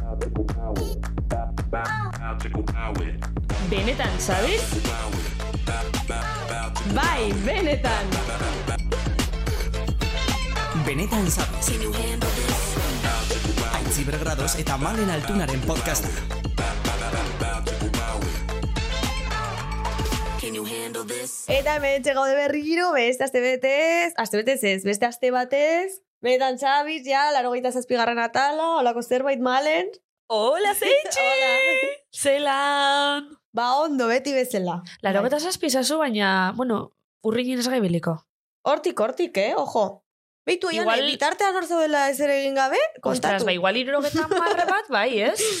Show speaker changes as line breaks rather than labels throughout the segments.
Magical power. Ba- ba- Magical power.
Benetan, ¿sabes?
Power. Ba- ba- magical
Bai, benetan!
Benetan zabez. Aitzi bergradoz eta malen altunaren podcasta.
Eta hemen gaude berriro, beste aste betez, aste betez ez, beste aste batez, benetan txabiz, ja, laro gaita zazpigarren atala, olako zerbait malen.
Hola, zeitxe!
Hola.
Zelan!
Ba ondo, beti bezala. Bai.
Laro gata zazpizazu, baina, bueno, urrinin ez gai beliko.
Hortik, hortik, eh, ojo. Beitu, oian,
Igual-
Igual... bitartean hor zaudela ez ere egin gabe,
Ostras,
kontatu.
ba, igual irrogeta marre bat, bai, ez?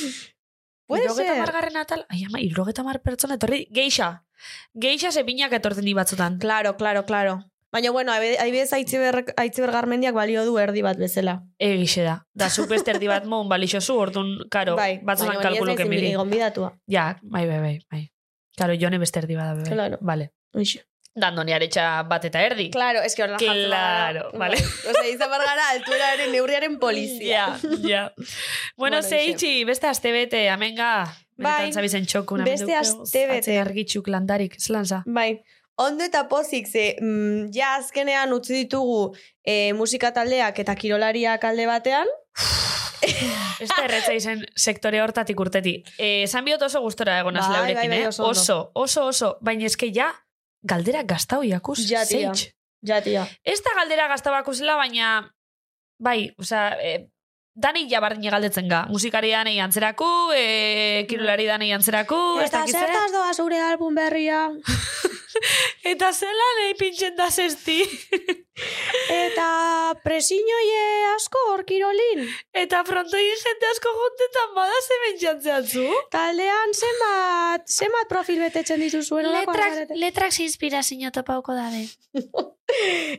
Puede
irrogeta
ser.
margarren atal, ai ama, irrogeta mar pertsona, etorri, geixa. Geixa zepinak etortzen di batzutan.
Claro, claro, claro. Baina, bueno, abe- adibidez aitziber, aitziber garmendiak balio du erdi bat bezala.
Egixe E, da. Da, zuk beste erdi bat mon balixozu, ordun, karo, batzutan
Bai, baina hori ez
kalkuluk
naiz
emili.
ibili gonbidatua.
Ja, bai, bai, bai, bai. Karo, jone beste erdi bada, bai.
Claro.
Vale.
Uixe.
Dandone aretxa bat eta erdi.
Claro, es que horrela jartzen Bai.
Claro,
gara.
vale.
Ose, izan behar gara altueraren neurriaren polizia.
Ja, ja. Bueno,
Bueno,
zeitxi, beste astebete, amenga. Benetan
Bai,
zabizen txokun.
beste astebete.
Argitxuk landarik, zelan za.
Bai. Ondo eta pozik, ze mm, ja azkenean utzi ditugu e, musika taldeak eta kirolariak alde batean.
Ez da erretza izen sektore hortatik urteti. Eh, Esan biot oso gustora egon
Bai,
bai, laurekin,
bai, bai,
eh?
oso ondo.
Oso, oso, oso. Baina eske ja, galdera gaztau jakuz,
Ja, tia.
zeitx.
Ja, tia.
Ez da galdera gaztabakusela, baina... Bai, osea... Eh, Danei jabarri galdetzen ga. Musikari danei antzeraku, eh, kirolari danei antzeraku, ez
eta
dakit zer.
zertaz doa zure album berria,
Eta zelan egin pintxen da zesti.
eta presiñoie asko hor kirolin.
Eta frontoien jende asko jontetan bada zemen jantzeatzu.
Taldean zenbat, zenbat profil betetzen dituzuen olakoak
Letrak,
zarete?
letrak inspirazio topauko dabe.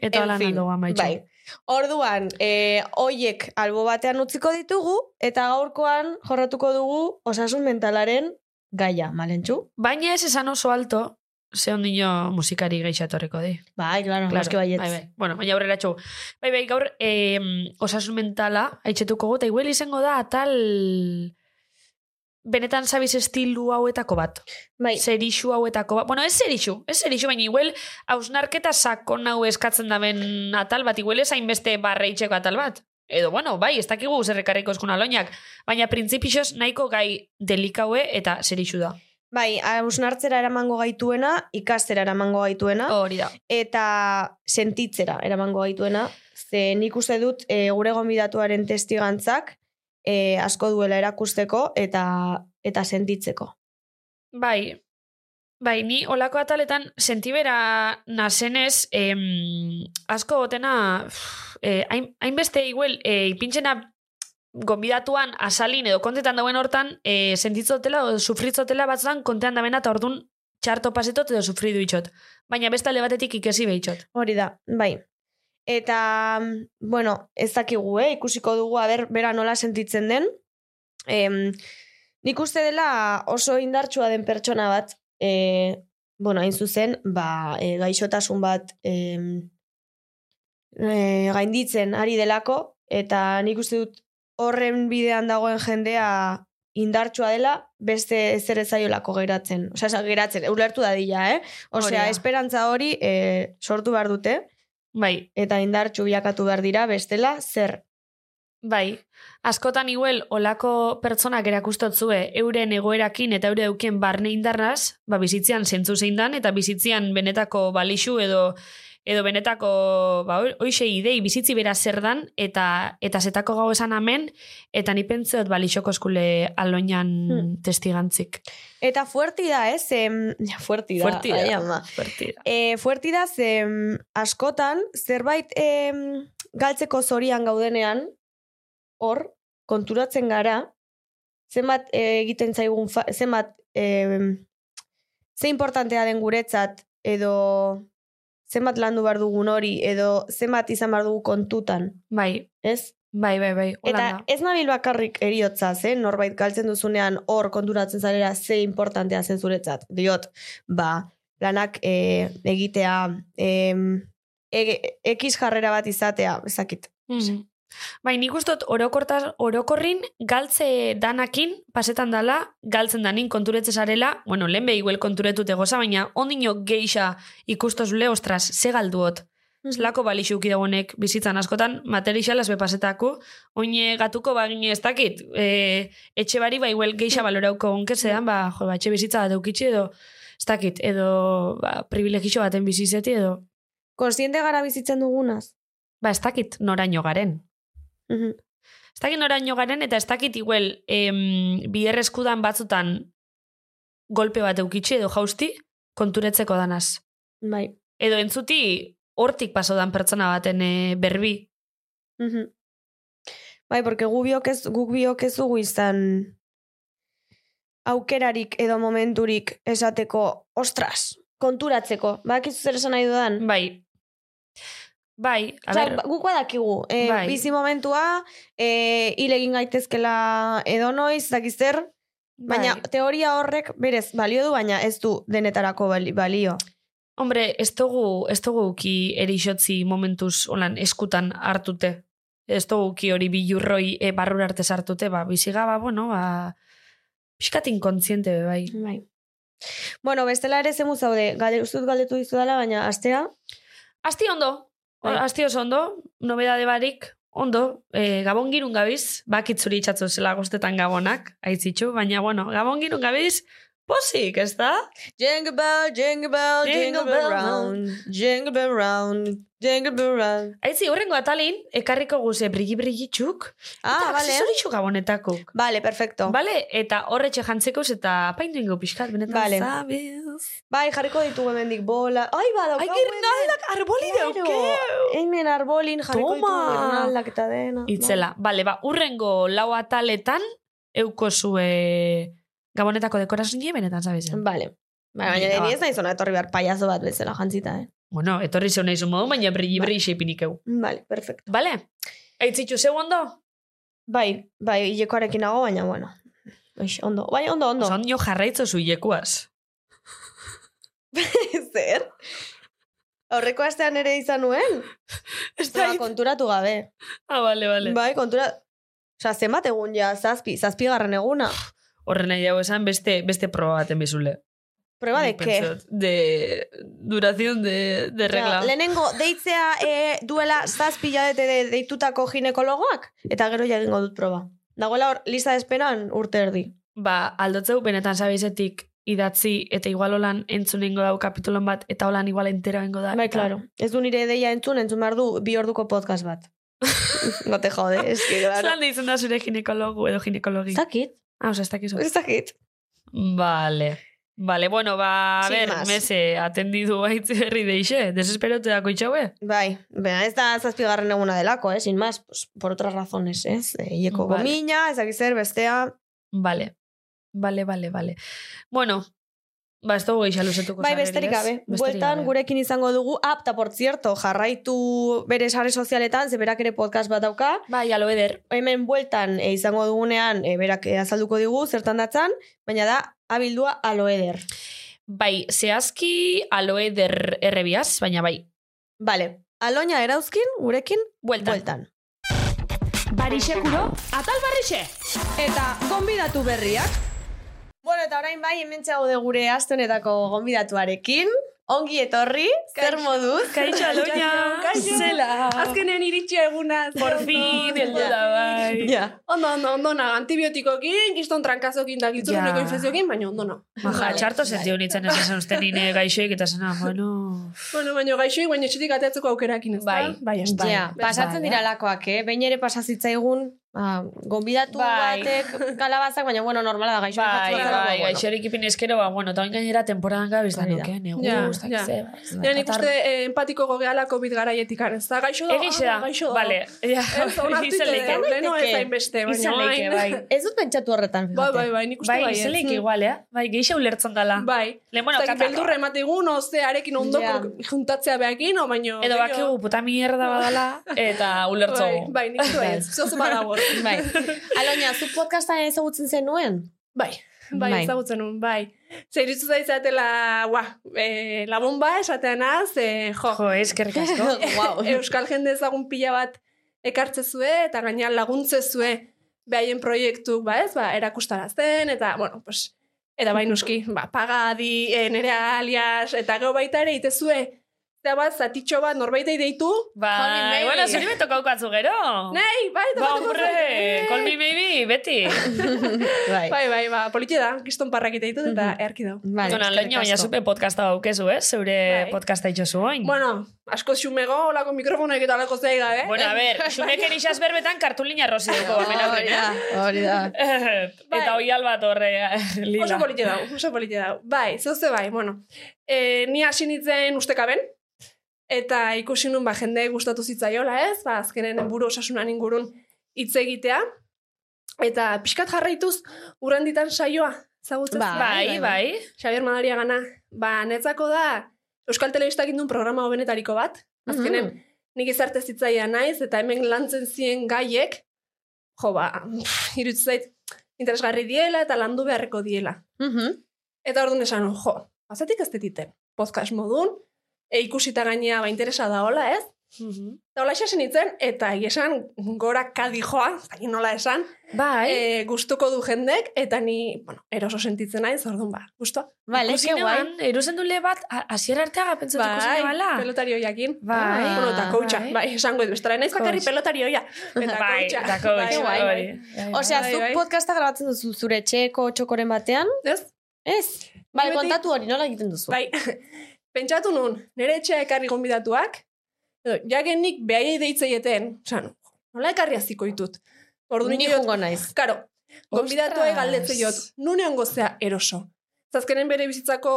Eta hola nando amaitxu.
Bai. Orduan, eh, hoiek albo batean utziko ditugu, eta gaurkoan jorratuko dugu osasun mentalaren gaia, malentxu?
Baina ez esan oso alto, ze ondino musikari geixatorreko di.
Bai, klaro,
Claro,
noski baietz.
Bai, bai. Bueno, baina aurrera txu. Bai, bai, gaur eh, osasun mentala haitxetuko gota, igual izango da atal benetan zabiz estilu hauetako bat.
Bai,
Zerixu hauetako bat. Bueno, ez zerixu, ez zerixu, baina igual hausnarketa sakon hau eskatzen daben atal bat, igual ez hainbeste barreitzeko atal bat. Edo, bueno, bai, ez dakigu zerrekarriko eskuna loinak, baina printzipixoz nahiko gai delikaue eta zerixu da.
bai, hausnartzera eramango gaituena, ikastera eramango gaituena,
Hori da.
eta sentitzera eramango gaituena. Ze nik uste dut e, gure gonbidatuaren testigantzak e, asko duela erakusteko eta eta sentitzeko.
Bai, bai, ni olako ataletan sentibera nazenez em, asko gotena pff, eh, hain- hainbeste iguel eh, ipintxena gonbidatuan asalin edo kontetan dauen hortan eh, sentitzotela edo sufritzotela batzutan kontean damena eta ordun txarto pasetot edo sufridu itxot. Baina beste alde batetik ikesi behitxot.
Hori da, bai. Eta, bueno, ez dakigu, eh? ikusiko dugu, aber, bera nola sentitzen den. Em, nik uste dela oso indartsua den pertsona bat, e, bueno, hain zuzen, ba, e, gaixotasun bat em, e, gainditzen ari delako, eta nik uste dut horren bidean dagoen jendea indartsua dela, beste ezer ezaiolako geratzen. Osea, esan geratzen, ulertu dadila, eh?
Hori
Osea,
da.
esperantza hori e, sortu behar dute,
Bai,
eta indartsu bilakatu behar dira, bestela, zer.
Bai, askotan iguel olako pertsonak erakustotzue euren egoerakin eta eure eukien barne indarraz, ba, bizitzean zentzu zein dan, eta bizitzean benetako balixu edo edo benetako ba, hoi- hoixe idei bizitzi bera zer dan, eta, eta zetako gau esan amen, eta ni pentseot balixoko eskule aloinan
Hmm.
testigantzik.
Eta fuerti da, ez? Em, ja, fuerti da.
Fuerti da.
ai, ama.
Partida.
E, fuerti da, zem, askotan, zerbait em, galtzeko zorian gaudenean, hor, konturatzen gara, zenbat e, egiten zaigun, fa, zenbat, em, ze importantea den guretzat, edo zenbat landu behar dugun hori, edo zenbat izan behar dugu kontutan,
Bai,
ez?
bai, bai, bai.
Eta
Holanda.
ez nabil bakarrik eriotza, eh? norbait galtzen duzunean hor konturatzen zarela ze importantea zen zuretzat. Diot, ba, lanak e, egitea, e, e, ekiz jarrera bat izatea, ezakit.
Mhm. Bai, nik ustot orokorta, orokorrin galtze danakin pasetan dala, galtzen danin konturetze zarela, bueno, lehen behi guel konturetut egoza, baina ondino geixa ikustoz le, ostras, ze galduot. Zelako balixuki dagoenek bizitzan askotan, materialaz bepasetako, oine gatuko bagine ez dakit, e, etxe bari bai guel geixa balorauko onkezean, ba, jo, ba, etxe bizitza bat eukitxe edo, ez dakit, edo ba, privilegixo baten bizizeti edo,
Konsiente gara bizitzen dugunaz.
ba, ez dakit noraino garen.
Mhm.
Ez dakit noraino garen eta ez dakit iguel em, biherrezkudan batzutan golpe bat eukitxe edo jausti konturetzeko danaz.
Bai.
Edo entzuti hortik paso dan pertsona baten e, berbi.
Mhm. Bai, porque gu biok ez, guk biok ez dugu izan aukerarik edo momenturik esateko, ostras, konturatzeko. Badakizu zer esan nahi dudan?
Bai. Bai, a
Osea,
ber,
ba- guk badakigu, e,
Bai.
bizi momentua, e, hil egin gaitezkela edo noiz, dakiz zer, baina
bai.
teoria horrek berez balio du, baina ez du denetarako bali- balio.
Hombre, ez dugu, ez dugu uki erixotzi momentuz holan eskutan hartute. Ez dugu uki hori bilurroi e, barrur arte sartute, ba, biziga, ba, bueno, ba, pixkatin kontziente, be, bai.
Bai. Bueno, bestela ere zemu zaude, galde, ustut galdetu dizudala, baina astea,
Asti ondo,
Bai.
asti oso ondo, nobedade barik, ondo, e, gabon girun gabiz, bakitzuri itxatzu zela guztetan gabonak, aitzitxu, baina, bueno, gabon girun gabiz, Pozik, ez da?
Jingle bell, jingle bell,
Jingle
jingle
bell
bell round, jingle bell round, jingle bell round.
Aitzi, horrengo atalin, ekarriko guze brigi-brigitxuk,
Ah,
eta Bai.
vale.
aksesoritxu gabonetakuk.
Vale, perfecto.
Bale, eta horretxe jantzekoz eta apaindu ingo pixkat, benetan
Vale.
zabiz.
Bai, jarriko ditugu hemendik bola. Ai, ba,
Ai,
daukagu.
girnaldak arboli
Claro.
daukeu!
Hemen arbolin jarriko
Toma.
ditugu hernaldak eta dena.
Itzela, bale, ba, urrengo lau ataletan, euko zue gabonetako dekorazio benetan zabizen.
Vale. Vale,
Venga,
baina
ba.
ni ez naiz ona etorri behar payaso bat bezala jantzita, eh.
Bueno, etorri zeu nahi modu, baina brilli brilli xeipinik eu.
Vale, perfecto.
Ba- Bale? Aitzitxu zeu ondo?
Bai, bai, hilekoarekin nago, baina bueno. Oix, ondo. Bai, ondo,
No.
ondo.
Zon jo jarraitzo zuilekuaz.
Zer? Aurreko astean ere izan nuen.
Ez
Ba,
da,
konturatu gabe.
ah, bale, bale.
Bai, kontura... Osa, zenbat egun ja, zazpi, zazpigarren eguna.
Horren nahi dago esan beste, beste proba baten bizule.
Prueba de
Nik
ke.
pentsot, De duración de, de regla.
Ja, lehenengo, deitzea e, duela zazpi jadete de, deitutako ginekologoak, eta gero ja egingo dut proba. Dagoela hor, lista despenan urte erdi.
ba, aldotzeu benetan zabizetik idatzi eta igual holan entzunengo dau kapitulon bat eta holan igual entero engo da.
Bai,
eta-
claro. Ez du nire deia entzun, entzun behar du bi orduko podcast bat. no te jode, es que, claro.
Zelan deitzen da zure ginekologu edo ginekologi.
Ez dakit,
Ah, oza, ez dakizu.
ez dakit.
Vale. Vale, bueno, ba, a
Sin
ber,
más.
meze, atendidu aitz herri deixe, desesperote dako itxaue.
Bai, bena, ez da zazpigarren eguna delako, eh, sin más, pues, por otras razones, ez? Eh? Ieko
Vale.
gomina, ez dakit zer, bestea,
Vale, vale, vale, vale. Bueno, ba, ez dugu geixa luzetuko.
Bai,
sarreri,
besterik
ez?
gabe.
Besterik
Bueltan
gabe.
gurekin izango dugu, apta, por cierto, jarraitu bere sare sozialetan, ze berak ere podcast bat dauka.
Bai, alo eder.
Hemen bueltan eh, izango dugunean, eh, berak eh, azalduko digu, zertan datzan, baina da, abildua aloeder.
Bai, zehazki aloe der errebiaz, baina bai,
Vale, aloina erauzkin, gurekin,
bueltan.
bueltan.
Barixekuro, atal barrixe!
Eta, gonbidatu berriak. Bueno, eta orain bai, hemen gaude gure astonetako gonbidatuarekin. Ongi etorri, zer moduz?
Kaixo, aloina!
Kaixo.
Zela!
Azkenean iritsia eguna.
Por fin, heldu da, bai.
Ja.
Ondo, ondo, ondo, na, antibiotikokin, kiston trankazokin da giltzurreneko
Ja.
infekziokin, baina ondo na.
Maja,
Vale, bai.
txarto zentiu nintzen ez esan uste nire gaixoik eta zena, bueno...
Bueno, baina gaixoik, baina etxetik ateatzeko aukerakin, ez da?
Bai.
bai, ez da.
Bai.
Ja, pasatzen
Bai,
dira lakoak, eh? Behin ere pasazitzaigun, ah, gonbidatu
Bai.
batek kalabazak, baina bueno, normala da gaixo.
Bai,
jatzua dela,
bai,
bueno.
gaixorik ipin ezkero, ba, bueno, eta oin gainera temporadan gabiz da
Hori da.
nuke, negu,
Ja,
ez dakit
ja.
ze, ba, ez da,
Ja, nik
tatar-
uste eh, empatiko gogeala COVID garaietik ez da? Gaixo da,
Egixe da,
ah, gaixo da.
bale. Ja,
Ez, onartu
izan leike.
ite, leno ez hainbeste, baina
Izan leike,
orain.
bai.
Ez dut pentsatu horretan,
Bai,
fijate.
bai, bai, nik uste
Bai,
bai,
izan
ez.
leike igual, eh? Bai, geixa ulertzen dala.
Bai,
Lehen, bueno,
bueno, ez da, beldurra emategun, ozte arekin ondoko
Ja.
juntatzea behakin, o baino...
Edo
gero-
bakigu puta mierda badala, eta
Bai,
ulertzogu.
bai, nik uste bai,
Bai.
ez. Zozu badago.
Bai. Aloina, zu podcastan ezagutzen zenuen?
Bai, bai,
Bai.
ezagutzen nun, bai. Zer iritzu zaizatela, ua, e, la bomba esatean az, e, jo,
Jo, eh, eskerrik asko.
wow.
euskal jende ezagun pila bat ekartzezue eta gainean laguntzezue behaien proiektu, ba ez, ba, erakustarazten, eta, bueno, pues, eta bai nuski, ba, pagadi, e, nere alias, eta gero baita ere itezue, eta bat, zatitxo bat norbaitei deitu, Call me
Bai,
maybe.
bueno, zuri beto kaukatzu gero.
nahi, bai, eta
Ba,
bat,
hombre, call me maybe, beti.
Bai, bai, ba, politxe da, kiston parrak ite ditut eta erki dau.
Vale,
Dona,
eskerrik
loina, baina
asko.
zupe podcasta daukezu, eh? Zeure
Bai.
podcasta itxozu oin.
Bueno, asko xumego, olako mikrofonoek eta olako zei gabe.
Bueno, a ber, xumeken isaz berbetan kartulina rosi duko,
Ah,
Hori da, hori da.
Eta oi albat horre, eh, lila.
bai, Oso politxe dau, oso politxe dau. Bai, zeuze bai, bueno. E, ni hasi nintzen ustekaben, eta ikusi nun ba, jende gustatu zitzaiola ez, ba, azkenen buru osasunan ingurun hitz egitea, eta pixkat jarraituz urren ditan saioa, zagutzen
Ba.
Bai, bai.
Xabier Madaria gana, ba, netzako da Euskal Telebistak indun programa hobenetariko bat, azkenen nik izarte zitzaia naiz, eta hemen lantzen zien gaiek, jo ba, pff, iruditzen zait, interesgarri diela eta landu beharreko diela.
Mhm.
Eta orduan esan, nun, jo, bazatik ez dititen, podcast modun, e, ikusita gainea ba interesa da hola, ez? Eta hola esan nintzen, eta egia esan gora kadi joa, ez dakit nola esan,
Bai.
e, gustuko du jendek, eta ni, bueno, eroso sentitzen naiz, orduan ba, gustoa.
Vale,
Ikusi
que guai.
neban, iruzen dule bat, a- hasiera arteaga pentsatu
Bai,
ikusi nebala.
pelotario jakin.
Bai.
Ah, Bueno, eta koutxa,
Bai.
bai, esango du, estara naiz bakarri
Coach.
pelotarioia. Eta
Bai,
koutxa.
eta coach,
Bai, bai,
hori.
Osea,
Bai,
zuk
bai.
podcasta grabatzen duzu zure txeko txokoren batean?
Ez?
Ez. Bai,
Ni beti-
kontatu hori nola egiten duzu.
Bai, pentsatu nun, nire etxea ekarri gonbidatuak, edo, jagenik behaiei deitzeieten, san, nola ekarri aziko ditut. Ordu
Ni
nik
jungo naiz.
Karo, gonbidatuei
Ostras.
galdetze jot, nune ongo zea eroso. Zazkenen bere bizitzako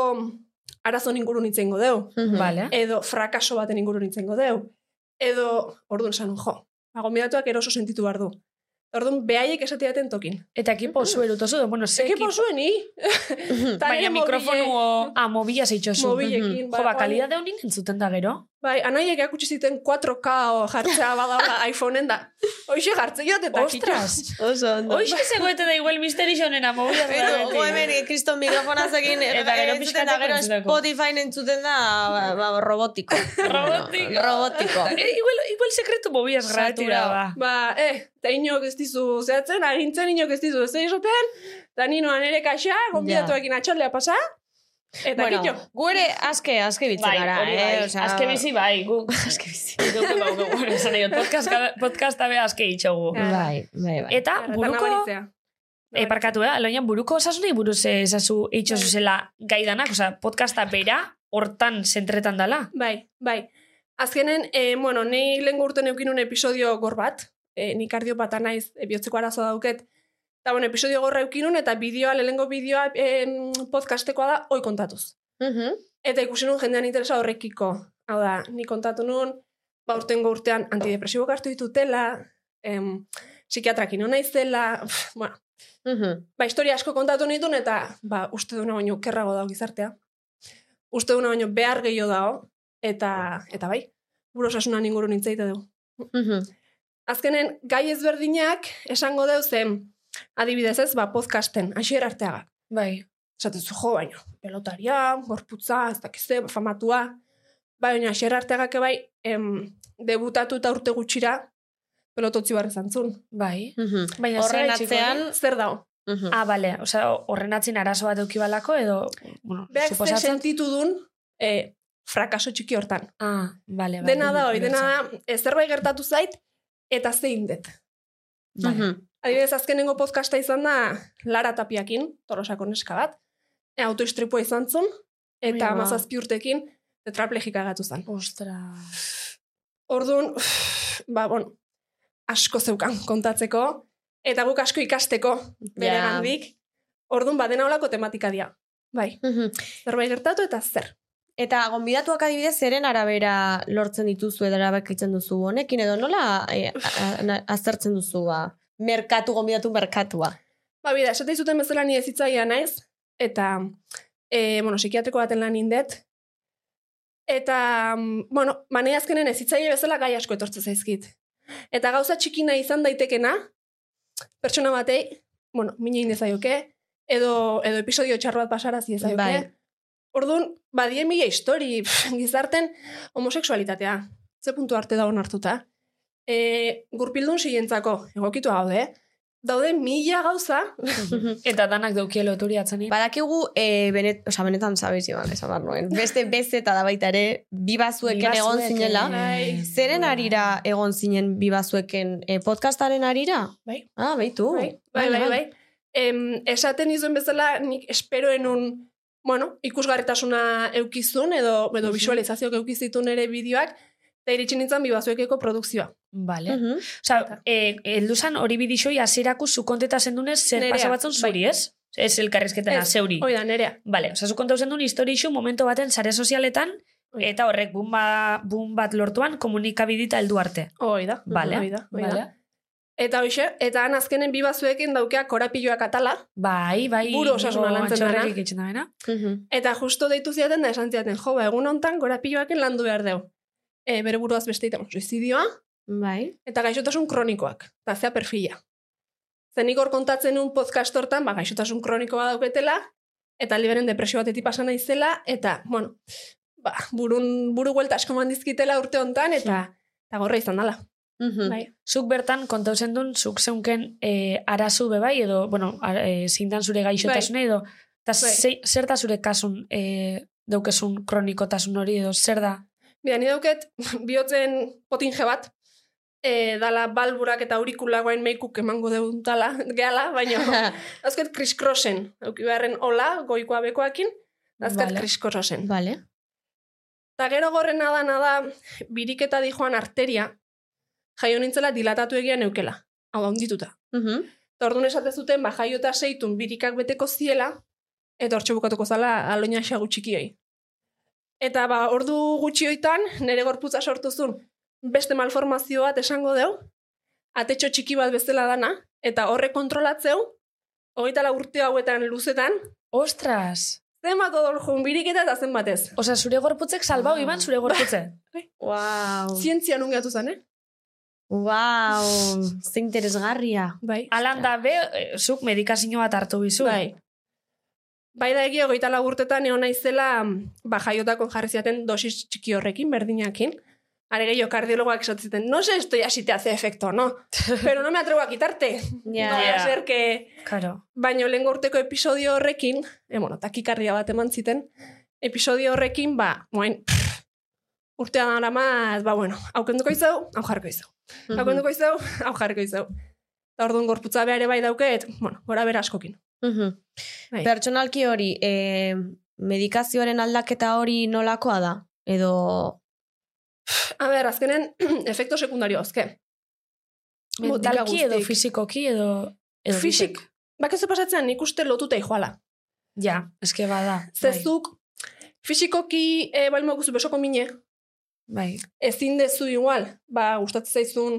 arazon ingurun itzengo deu.
Mhm.
Vale.
edo frakaso baten ingurun itzengo deu, edo orduan esan nun, jo, agomidatuak eroso sentitu behar du. Orduan, behaiek esateaten tokin.
Eta ekipo zuen, utozu, du, bueno, ze ekipo
Ekipo
Mhm.
zuen, ni? Ta nire
Baina
mobile-
mikrofonu, ah, mobila zeitxozu.
Mobilekin.
Jo, ba,
bai,
kalidad deunin entzuten da gero.
Bai, anaiek erakutsi ziten 4K o jartzea badaola iPhoneen da. Hoxe jartze jot eta
Ostras!
Oso ondo.
Hoxe zegoete da igual misteri xonena mobila
Eta gu hemen kriston mikrofonaz egin
Eta gero
entzuten da,
pixkateko
gero
entzuteko.
Spotify entzuten da ba, ba, robotiko.
Robotiko.
robotiko.
E, igual, igual sekretu mobiaz gratura
Satura.
ba.
Ba, eh, eta inok ez dizu zehatzen, agintzen inok ez dizu ez esaten, eta ninoan ere kaxa, gonbidatuekin atxaldea pasa, eta
Bueno,
kitxo.
gu ere aske, aske bitzen gara,
Bai, hori
eh? Osea,
Aske bizi bai, gu. Aske bizi. Dugu bau, dugu, bueno, esan diot, podcasta- podcasta be aske itxogu.
Bai, bai, bai.
Eta
Eta
buruko,
nabaritzea.
e, parkatu, eh? Aloian buruko osasunei buruz eh, esazu itxosu zela gaidanak, oza, podcasta bera, hortan zentretan dala.
Bai, bai. Azkenen, e, bueno, ni lehen urten eukin un episodio gor bat, e, ni kardiopata naiz, e, bihotzeko arazo dauket, eta bueno, episodio gorra eukin un, eta bideoa, lehengo bideoa em, podcastekoa da, oi kontatuz.
Mhm.
Eta ikusi nun jendean interesa horrekiko. Hau da, ni kontatu nun, ba urtengo urtean antidepresiboak hartu ditutela, em, psikiatrakin hona izela, pff, bueno,
Mhm.
ba, historia asko kontatu nitun, eta ba, uste duna baino kerrago dago gizartea. Uste duna baino behar gehiago dago, eta, eta bai, burosasunan inguru nintzeite dugu.
Mhm.
Azkenen, gai ezberdinak esango deu zen, adibidez ez, ba, podcasten, asier arteaga.
Bai.
Esatezu jo, baino, pelotaria, gorputza, ez dakize, ba, famatua. Baina, asier arteagak bai, em, debutatu eta urte gutxira, pelototzi barri zantzun.
Bai.
Mhm.
Baina
Horren
zer atxiko
atzean,
eh? Zer dago?
mhm.
Ah, bale, osea, horren atzin arazo bat eukibalako edo, bueno,
Beak zer
suposatzen.
sentitu dun, e, frakaso txiki hortan.
Ah, bale, bale.
Dena da hori, dena da, e, zerbait gertatu zait, eta zein dut.
Vale.
Mhm.
Adibidez, azkenengo podcasta izan da, Lara Tapiakin, tolosako neska bat, e, autoistripua izan zun, eta
Ui, ba.
amazazpi urtekin, tetraplegika gatu zen.
Ostras.
Orduan, ba, bon, asko zeukan kontatzeko, eta guk asko ikasteko, bere
Ja.
gandik. Orduan, ba, dena olako tematika dia. Bai,
Mhm.
zerbait gertatu eta zer.
Eta gonbidatuak adibidez zeren arabera lortzen dituzu edo erabakitzen duzu honekin edo nola e, a- a- na- aztertzen duzu ba merkatu gonbidatu merkatua.
Ba, bida, esate zuten bezala ni ez hitzailea naiz, eta, e, bueno, psikiatriko baten lan indet, eta, mm, bueno, manei azkenen ez hitzaile bezala gai asko etortze zaizkit. Eta gauza txikina izan daitekena, pertsona batei, bueno, mine indezaioke, edo, edo episodio txar bat pasarazi ezaioke.
Bai.
Orduan, badie mila histori, pff, gizarten homoseksualitatea. Ze puntu arte da onartuta. e, gurpildun silentzako, egokitu gaude, daude mila gauza,
Eta danak daukie loturi atzenin.
Badakigu, e, benet, oza, benetan zabez iban, esan behar nuen. Beste beste eta da baita ere, bi bazueken egon
Bibazueken.
zinela.
Bai.
Zeren eh? arira egon zinen bi bazueken e, podcastaren arira?
Bai.
Ah, baitu.
bai, bai, bai, bai. Em, esaten izuen bezala, nik esperoenun, bueno, ikusgarritasuna eukizun, edo, edo visualizazioak eukizitun ere bideoak, eta iritsi nintzen bibazuekeko produkzioa.
Vale.
Mhm.
Osa, eh, heldu zan hori bidixoi aziraku zukonteta zendunez zer
Nerea,
pasa batzun
bai.
zuri, ez? Ez elkarrizketena,
Ez,
zeuri.
Hoi da, nerea.
Vale, osa, zukontau zendun historixu momento baten sare sozialetan,
Hoi.
eta horrek bumba, bum bat lortuan komunikabidita heldu arte.
Hoi da.
Vale.
Hoi da, hoi da. Eta hoxe, eta han azkenen bibazuekin daukea korapiloak atala,
Bai, bai.
Buru osasuna
Iñigo
lantzen
Antxorrek
dana.
ikitzen da bena.
Mhm.
eta justo deitu ziaten da esan ziaten, jo, ba, egun hontan korapiloaken landu behar deu. E, bere buruaz beste iten, suizidioa,
Bai.
eta gaixotasun kronikoak, eta zea perfila. Zenik hor kontatzen un podcast hortan, ba, gaixotasun kronikoa dauketela, eta liberen depresio batetik pasan naizela, eta, bueno, ba, burun, buru guelta asko mandizkitela urte hontan, eta, eta gorra izan dela.
Mhm.
Bai.
Zuk bertan kontau zendun, zuk zeunken eh, arazu bebai, edo, bueno, ar, eh, zein dan zure gaixotasune, edo, eta
Bai.
zei- zer da zure kasun eh, daukesun kronikotasun hori, edo zer da?
Bida, ni dauket, bihotzen potinje bat, e, dala balburak eta aurikula guain meikuk emango deuntala, gehala, baina, azket kriskrosen, auki beharren ola, goikoa bekoakin, azket
Vale.
kriskrosen.
Vale.
Eta gero gorrena da, nada, biriketa di joan arteria, jaio nintzela dilatatu egia neukela, hau da, ondituta.
Mhm.
Eta orduan esaten zuten, ba, jaio eta seitun birikak beteko ziela, eta hortxe bukatuko zala aloina xagu txikioi. Eta ba, ordu gutxi hoitan, nire gorputza sortu zuen, beste malformazio bat esango deu, atetxo txiki bat bezala dana, eta horre kontrolatzeu, hogeita la urte hauetan luzetan,
Ostras!
zenbat odol joan biriketa eta zenbatez.
Osa, zure gorputzek
Ah.
salbau iban zure gorputze.
Bai.
Wow.
Zientzia nungatu zen, eh?
Wow. Ze interesgarria.
Bai.
Alan da be, eh, zuk medikazio bat hartu bizu.
Bai. Bai da egia, goita lagurtetan egon naizela mm, ba, jaiotako jarri ziaten dosis txiki horrekin, berdinakin. Are gehiago kardiologoak esatzen, no sé, esto ya si te hace efecto, no? Pero no me atrevo a quitarte.
Ja.
Ja.
No, yeah. ser que...
Karo.
Baina lehenko urteko episodio horrekin, eh, bueno, takikarria bat eman ziten, episodio horrekin, ba, moain, urtea dara maz, ba, bueno, haukenduko izau, hau jarriko izau.
Mhm.
Haukenduko izau, hau jarriko izau. Eta orduan gorputza behar ere bai dauket, bueno, gora bera askokin.
Mhm.
Bai.
Pertsonalki hori, e, medikazioaren aldaketa hori nolakoa da? Edo...
A ber, azkenen, efekto sekundario azke.
Mentalki
Botika
edo
guztik.
fizikoki edo... edo
Fisik.
bitek.
Bakizu pasatzean nik uste lotuta ijoala.
Ja, bai. eske bada.
Zezuk, fisikoki e, bali moguzu besoko mine,
Bai,
ezin dezu igual, ba, gustatzen zaizun,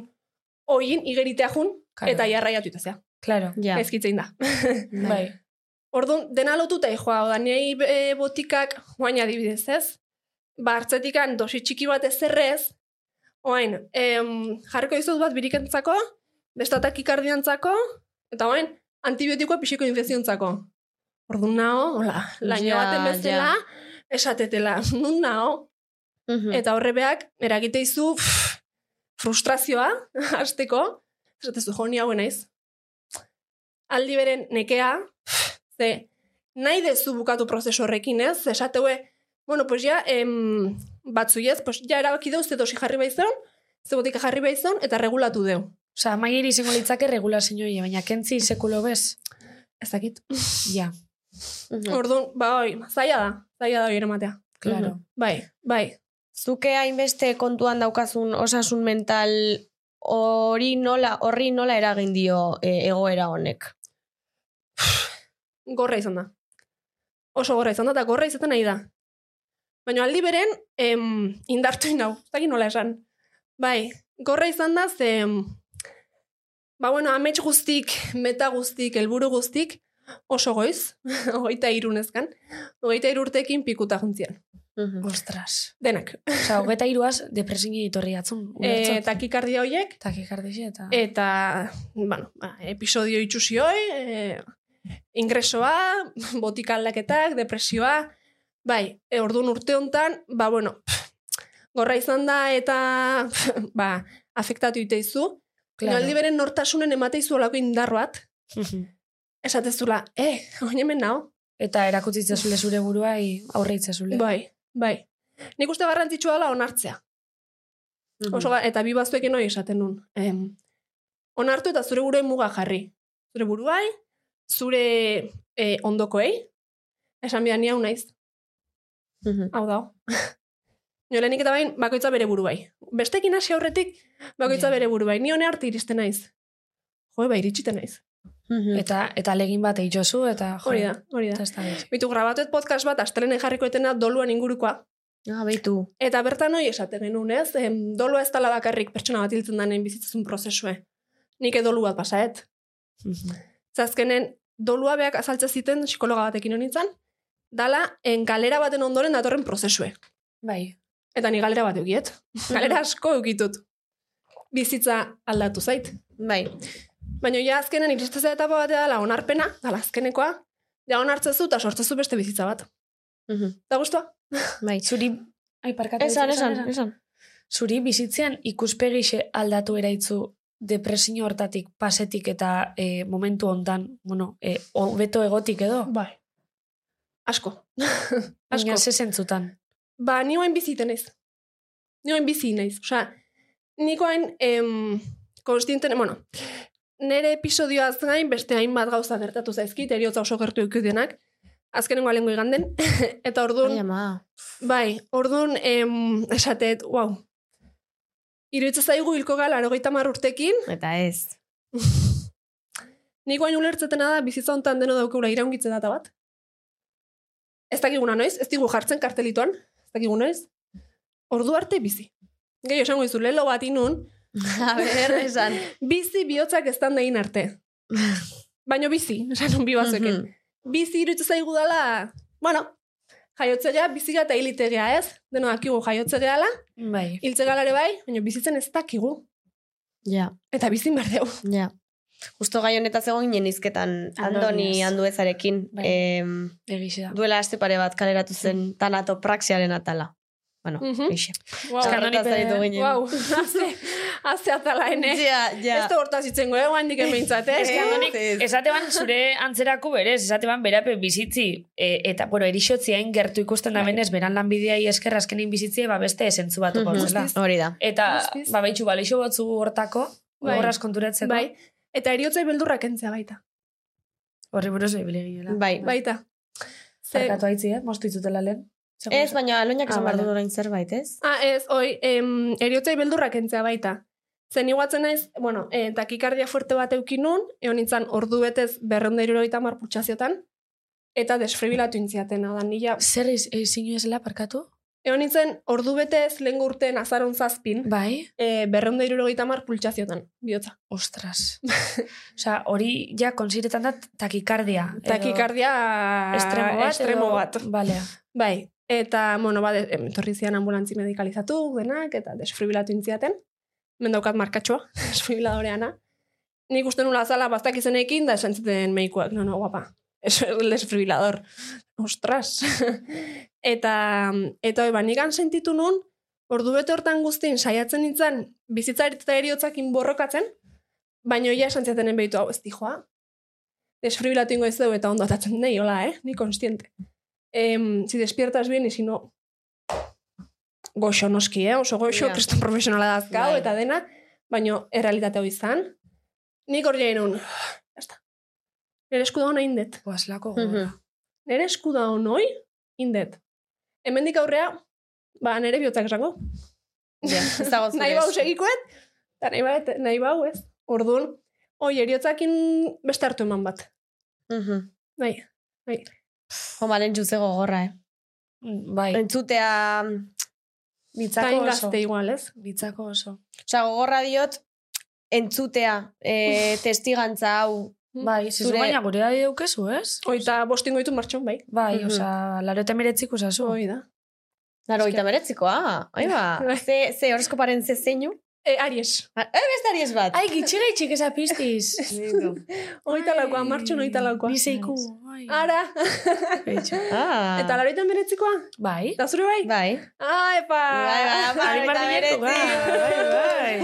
oin igeritea jun,
Claro.
eta jarraiatu itazea.
klaro.
Ja.
Ezkitzein da.
Bai.
Orduan, dena lotuta ijoa, oda, nei e, botikak, guain adibidez ez, ba, hartzetikan dosi txiki bat ez errez, oain, em, jarriko dizut bat birikentzako, bestatak ikardiantzako, eta oain, antibiotikoa pixiko infeziontzako. Orduan nao, hola, laino
Ja,
baten bezala, esatetela, nun nao,
Mhm.
eta horrebeak, eragite izu, pff, frustrazioa, hasteko, esatezu joni hauen naiz. Aldi beren nekea, pff, ze, nahi dezu bukatu prozesu horrekin, ez? Ze Esateue, bueno, pues ja, em, batzu ez, pues ja erabaki deu, ze dosi jarri baizon, ze botika jarri baizon, eta regulatu deu.
Osa, amaieri izango litzake regulazioa, baina kentzi sekulo bez.
Ez dakit.
Ja,
Mhm.
Orduan, ba, oi, zaila da, zaila da hori eramatea.
klaro.
Bai, bai.
Zuke hainbeste kontuan daukazun osasun mental hori nola, horri nola eragin dio e, egoera honek.
gorra izan da. Oso gorra izan da, eta gorra izaten nahi da. Baina aldi beren, em, indartu inau, ez dakit nola esan. Bai, gorra izan da, ze, em, ba bueno, amets guztik, meta guztik, helburu guztik, oso goiz, hogeita irunezkan, hogeita irurtekin pikuta juntzian.
Mhm.
Ostras.
Denak.
Osa, hogeta iruaz depresini etorri atzun.
E,
Eta
takikardia hoiek,
kikardixe eta...
Eh, Eta, bueno, ba, episodio itxusioi, e, ingresoa, botika aldaketak, depresioa, bai, e, orduan urte hontan, ba, bueno, pff, gorra izan da eta, ba, afektatu iteizu,
Claro.
claro. aldi beren nortasunen emateizu olako indar bat, esatezula, eh, oin hemen nao.
Eta erakutzitzazule zure buruai aurre itzazule.
Bai, bai. Nik uste garrantzitsua dela onartzea.
Mm.
Oso, ga- eta bi baztuekin hori esaten nun. Em, onartu eta zure buruei muga jarri. Zure buruai, zure eh, ondokoei. Esan bidan ni hau naiz. Hau da. Jolenik eta bain, bakoitza bere buruai. Bestekin hasi aurretik, bakoitza
Ja.
bere buruai. Ni hone arte iristen naiz. Jo, bai, iritsiten naiz.
mm.
Eta, eta legin bat eitxozu, eta jo,
Hori da, hori
Eta
da.
ez da beti.
Bitu grabatuet podcast bat, astelene jarriko etena doluan ingurukoa.
Ah, beitu.
Eta bertan hori esaten genuen, ez? Em, dolua ez dala bakarrik pertsona bat hiltzen danen bizitzazun prozesue. Nik edolu bat pasaet. Zazkenen, dolua beak azaltze ziten psikologa batekin honitzen, dala en galera baten ondoren datorren prozesue.
Bai.
Eta ni galera bat eukiet. Galera asko eukitut. Bizitza aldatu zait.
Bai.
Baina ja azkenen iristazea etapa batea dala onarpena, dala azkenekoa, ja onartzezu eta sortzezu beste bizitza bat. Eta guztua?
Bai.
Zuri... Ai, parkatu.
Esan, esan, esan.
Zuri bizitzean ikuspegixe aldatu eraitzu depresio hortatik, pasetik eta e, momentu hontan, bueno, e, hobeto egotik edo.
Bai. Asko.
Asko. Baina ze zentzutan.
Ba, ni oain biziten naiz. Ni oain bizi naiz. Osea, nik oain em, konstienten, bueno, nire episodioaz gain beste hainbat gauza gertatu zaizkit, eriotza oso gertu eukidienak, azkenengo alengo iganden, eta
Ai,
orduan,
ama.
bai, orduan, em, esatet, wow, iruditza zaigu hilko gala, arogeita urtekin,
Eta ez.
nik oain ulertzetena da bizitza hontan deno daukagula iraungitze data bat. Ez dakiguna noiz, ez digu jartzen kartelituan, ez dakigu noiz. Ordu arte bizi. Gehi esango izu, lelo bat inun,
A ber, esan.
bizi bihotzak ez egin arte. Baino bizi, esan un bibazuekin.
Mhm.
Bizi irutu zaigu dela, bueno, jaiotzea bizia eta hilitegea ez, deno dakigu jaiotze gehala,
Bai.
hiltze galare bai, baina bizitzen ez dakigu.
Ja,
Eta bizin behar dugu.
ja. Justo gai honetaz egon ginen izketan Andoni
Andoniaz.
Anduezarekin
Bai.
em,
Egixe da.
duela aste pare bat kaleratu zen tanatopraxiaren atala. Bueno,
Mhm.
eixe.
Wow,
Eskerrak
Andoni
aritu ginen.
wow, azte, azte atala ene.
Ja, ja.
Ez da hortaz itzengo, eh, guandik emeintzat,
Ez
eh?
da-
Andonik,
ez.
esate ban zure antzerako berez, esate ban berape bizitzi, e, eta, bueno, erixotziain gertu ikusten da benez, beran lanbideai esker azkenin bizitzie, ba beste esentzu bat
Mhm.
mm
Hori da.
Eta,
Guztiz.
ba, behitxu, baleixo batzu hortako,
Bai.
horraz konturatzeko.
Bai, eta eriotzei beldurrak entzea baita.
Horri buruz ebile ginela.
Bai.
Baita. Ze,
Zerkatu haitzi, eh? Mostu itzutela lehen. Segur.
Ez, bai. baina aloinak
Ah,
esan behar
bale.
du orain zerbait, ez?
ah, ez, oi, em, eriotzei beldurrak entzea baita. Zen iguatzen naiz, bueno, e, takikardia fuerte bat eukinun, egon nintzen ordu betez berrendeiruro eta marputxaziotan, eta desfribilatu intziaten, adan nila.
Zer iz, izinu ezela parkatu?
Egon nintzen ordu betez lehen urten azaron zazpin,
Bai.
e, berrendeiruro eta marputxaziotan, bihotza.
Ostras. Osa, hori ja konsiretan da takikardia. edo
Takikardia
Estremo bat.
estremo bat.
Balea.
Bai, eta, bueno, ba, de- em, etorri zian ambulantzi medikalizatu, denak, eta desfibribilatu intziaten. Mendaukat markatxoa, desfibriladoreana. Nik uste nula azala bastak izenekin, da esan zuten meikuak, no, no, guapa. Eso es el desfibrilador. Ostras. eta, eta, oi, ba, nigan sentitu nun, ordu bete hortan guztien saiatzen nintzen, bizitza eta eriotzakin borrokatzen, baina ia esan ziatenen behitu hau, ez dijoa. Desfibribilatu ingo ez dugu eta ondo atatzen nahi, hola, eh? Ni konstiente em, si despiertas bien, y si no, goxo noski, eh? oso goxo,
Ja.
kriston profesionala dazkau,
Bai.
eta dena, baino errealitate hori izan. Nik hor jain un, ya está. Nere esku daun indet.
Oazlako gora.
Nere esku daun hoi, indet. Hemendik aurrea, ba, nere bihotzak esango.
Ja, ez dago zure.
Nahi bau segikoet, eta nahi, bau- nahi bau ez. Orduan, hoi eriotzakin beste hartu eman bat. Bai,
Mhm.
Nahi.
Jo, malen juze gogorra, eh?
Bai.
Entzutea,
Zain
Bitzako oso.
gazte igual, ez?
Bitzako oso.
osea, gogorra diot, entzutea, e, testigantza hau,
Bai, zizu
Zure-
baina gure da deukezu, ez?
Oita bostingo ditu martxon, bai.
Bai,
Mhm.
oza, laro eta meretzik usazu.
Hoi da.
Laro gita meretzikoa, ahi ba.
Bai.
Ze, ze horoskoparen ze zeinu. Ah,
E, Aries.
Bestari ez bat.
Ai, gitxera itxik eza piztiz.
Oita laukoa, martxon oita laukoa.
Bizeiku.
Ara.
Ah.
Eta laroitan beretzikoa?
Bai.
Eta zure bai?
Bai.
Ah, epa!
Ari Martineko, bai,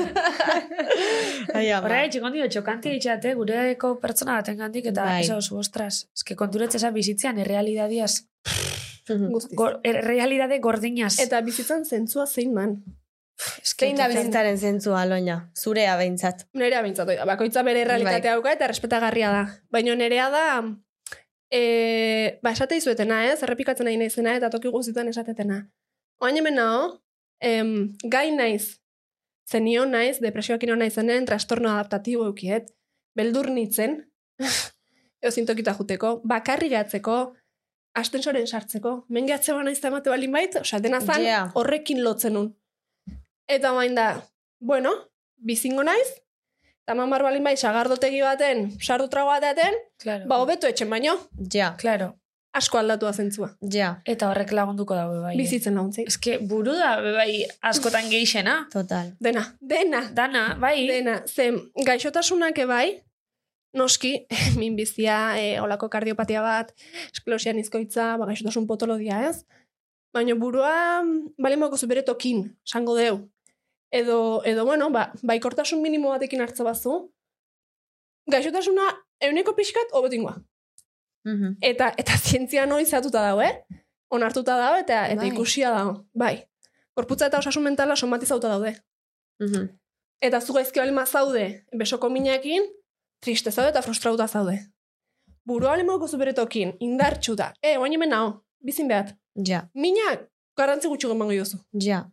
Horra
Horrek.
etxik ondio, txokanti itxate, gureko pertsona baten gandik, eta
Bai.
eso, zu, ostras, eske konturetze esan bizitzean errealidadiaz,
Guztiz.
gor, errealidade gordinaz.
Eta bizitzan zentzua zein man.
eske,
Zein da bizitzaren zentzua, Aloina? Zurea behintzat.
Nerea bintzat, oida. Bakoitza bere realitatea dauka eta respetagarria da. Baina nerea da... E, ba, esate izuetena, ez? Errepikatzen nahi naizena eta toki guztietan esatetena. Oain hemen nao, em, gai naiz, zenio naiz, depresioak ino naizenen, trastorno adaptatibo eukiet, beldur nitzen, eozin tokita juteko, bakarri gatzeko, astensoren sartzeko, mengeatze bana izan emate balin bait, osea, dena zan,
Yeah.
horrekin lotzen nun. Eta bain da, bueno, bizingo naiz, eta mamar balin bai, sagardotegi baten, sardu trago baten,
Claro.
ba, hobeto etxen baino,
Ja,
Claro.
asko aldatua zentzua.
ja,
Eta horrek lagunduko dago, bai.
Bizitzen laguntzei.
Eske, buru da, bai, askotan geixena.
total.
Dena, dena,
Dana, bai.
dena. Zen, gaixotasunak ebai, noski, minbizia, e, olako kardiopatia bat, esklerosia nizkoitza, ba, gaixotasun potolodia, ez? Baina burua, balen bakozu bere tokin, sango deu. Edo, edo bueno, ba, baikortasun minimo batekin hartza bazu, gaixotasuna euneko pixkat hobetingoa.
Mhm.
Eta eta zientzia noiz zatuta dago, eh? Onartuta dago eta eta
Bai.
ikusia dago. Bai. Gorputza eta osasun mentala somatizauta daude.
Mhm.
Eta zu gaizki bali zaude, besoko minekin, triste zaude eta frustrauta zaude. Burua bali mauko zuberetokin, indartxu da. E, oain hemen nao, bizin behat.
Ja,
Minak, garrantzi gutxi gomango jozu.
ja.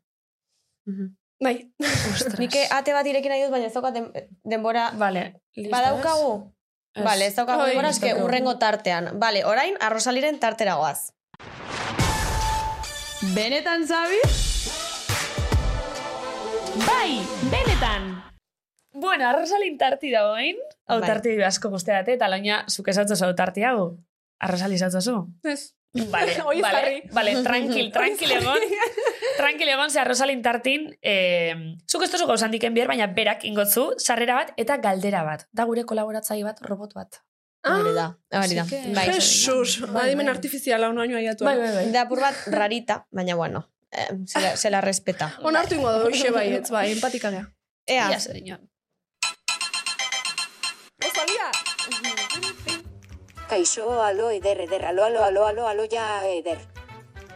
Mhm.
Bai,
Ostras.
Nik ate bat irekin nahi dut, baina ez daukat den, denbora... ba,
Vale.
Badaukagu?
Ez.
Bale, ez daukagu
Oi,
denbora,
ez
eske
daukagu.
urrengo tartean. Bale, orain, arrosaliren tartera goaz.
Benetan zabi? Bai, benetan.
Bueno, arrasalin tarti da oin. Hau
Bai.
tarti asko postea date, eta laina, zuk esatzo zau tarti hau. Arrasali esatzo zu.
ez.
Vale,
Hoi
vale,
jarri.
vale, tranquil, tranquil egon. Tranquil egon, ze arrosalin tartin, eh, zuk ez tozu gauzandik enbier, baina berak ingotzu, sarrera bat eta galdera bat. Da gure kolaboratzaile bat, robot bat.
Ah,
Hori da, hori da.
Así que-
Bai.
Jesus,
Bai,
adimen
bai.
artifiziala unaino aiatu.
Bai, bai, bai.
Da apur bat rarita, baina bueno, eh, se la, se la respeta.
Onartu ingo da, hoxe bai, ez bai, empatika gea.
Ea,
Ia, zereño.
Ozalia!
Kaixo, alo, eder, eder, alo, alo, alo, alo, alo, ja, eder.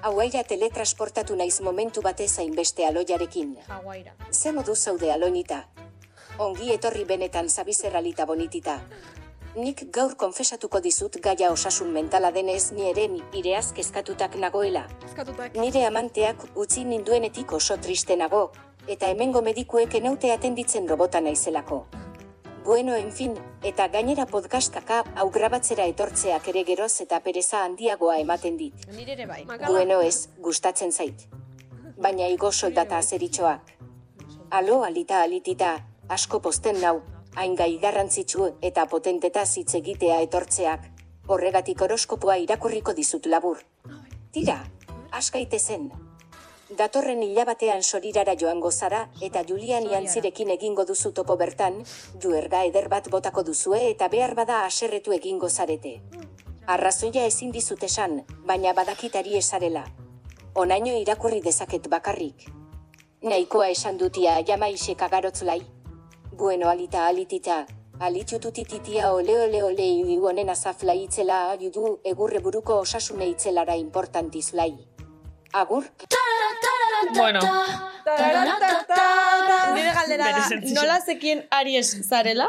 Hauaia teletransportatu naiz momentu batez hainbeste aloiarekin.
Hawaira.
Ze modu zaude alonita. Ongi etorri benetan zabizerralita bonitita. Nik gaur konfesatuko dizut gaia osasun mentala denez ni ere nire kezkatutak nagoela.
Eskatutak.
Nire amanteak utzi ninduenetik oso triste nago, eta hemengo medikuek enaute atenditzen robota naizelako. Bueno, en fin, eta gainera podcastkaka hau grabatzera etortzeak ere geroz eta pereza handiagoa ematen dit.
Nire ere bai.
Bueno ez, gustatzen zait. Baina igo soldata azeritxoak. Alo alita alitita, asko posten nau, hain gai garrantzitsu eta potenteta hitz egitea etortzeak. Horregatik horoskopoa irakurriko dizut labur. Tira, askaite zen. Datorren hilabatean sorirara joango zara eta Julian Jantzirekin egingo duzu topo bertan, juerga eder bat botako duzue eta behar bada aserretu egingo zarete. Arrazoia ezin dizut esan, baina badakitari esarela. Onaino irakurri dezaket bakarrik. Nahikoa esan dutia jamaisek agarotzulai. Bueno alita alitita, alitututititia ole ole ole iu honen azafla itzela ariudu egurre buruko osasune itzelara importantizlai. Agur?
Bueno,
Nire galdera da,
Berezentzia.
nola zekien Aries zarela?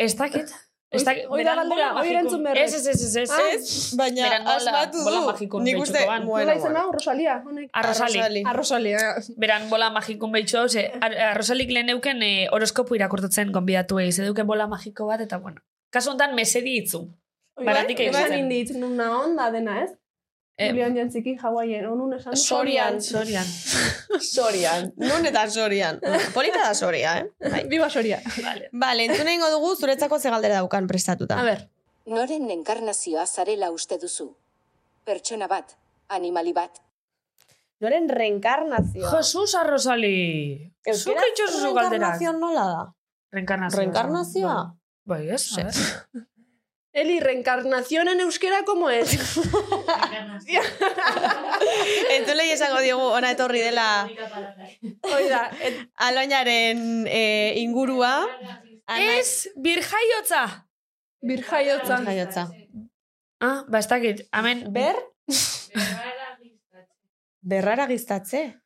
ez dakit. Ez dakit.
Hoi da
beran
galdera,
bola
hoi
magiko.
erantzun berri.
Ez, ez, ez, ez, ez.
Ez, baina
Bera, nola-
asmatu du.
bola magikon
Nik uste,
behitxuko ban.
bueno,
Nola izan
bueno.
hau, Rosalia? Honek. Ah,
Arrasali.
Arrasali.
Arrosalia.
Beran bola magikun behitxo hau, ze ar- arrosalik lehen euken e, horoskopu irakurtutzen gonbidatu egiz. Eduken bola magiko bat, eta bueno. Kasu honetan mesedi itzu. Baratik egin
egin.
zen.
Eman indit, nuna onda dena, ez?
Eh,
Julian jantziki Hawaien, onun esan. du,
Sorian.
Zorian.
Sorian. Non eta Sorian. Polita da Soria, eh? Bai.
Biba Soria.
Bale, entzuna ingo dugu zuretzako ze galdera daukan prestatuta.
A ber,
Noren enkarnazioa zarela uste duzu? Pertsona bat, animali bat,
Noren reenkarnazioa.
Jesusa Rosali! Zuka itxosu galderak.
Reenkarnazioa nola da?
Reenkarnazioa.
Reenkarnazioa?
Bai, ez? a ber.
Eli, reencarnación en euskera, como es?
Entzulei esango diogu ona etorri dela
Hoi da, et,
aloinaren eh, ingurua. Ana-
Ez, birjaiotza!
bir jaiotza.
Jaiotza.
Ah, ba, ez dakit, hemen...
Ber? Berrara giztatze.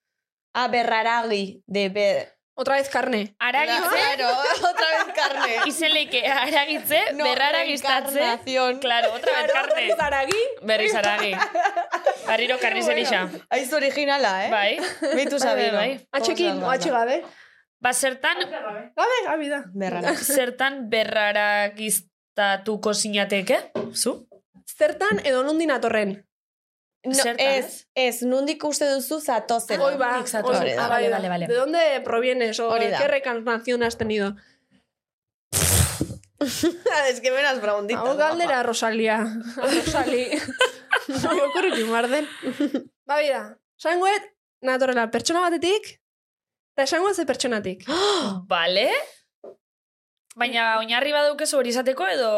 Ah, berraragi. De ber...
Otra vez carne.
Aragitze,
Claro, otra vez carne.
izenleike aragitze, berrara giztatze.
reencarnación.
Claro, otra vez carne.
Zaragi,
Berriz aragi. Barriro karri zen isa.
Aiz originala, eh?
Bai.
Bitu
Bai, bai,
sabino.
bai.
atxekin, o atxe gabe.
Ba, zertan,
Gabe, gabe da.
Berrara.
zertan berrara giztatuko zinateke? Zu?
Zertan edo nondin atorren.
No,
Zertan,
ez, ez, nundik uste duzu zatozela.
Hoi ba,
Exacto.
hoi,
Hori da.
ah,
Vale,
bai da.
vale, vale.
¿De dónde provienes o
Hori da.
qué reencarnación has tenido?
es que menas braundita.
Hau galdera, Rosalia. Rosali. Okurritu marden. Ba, bida, sangoet, natorrela pertsona batetik, eta sangoet ze pertsonatik.
Bale? Baina oinarri badaukezu hori izateko edo...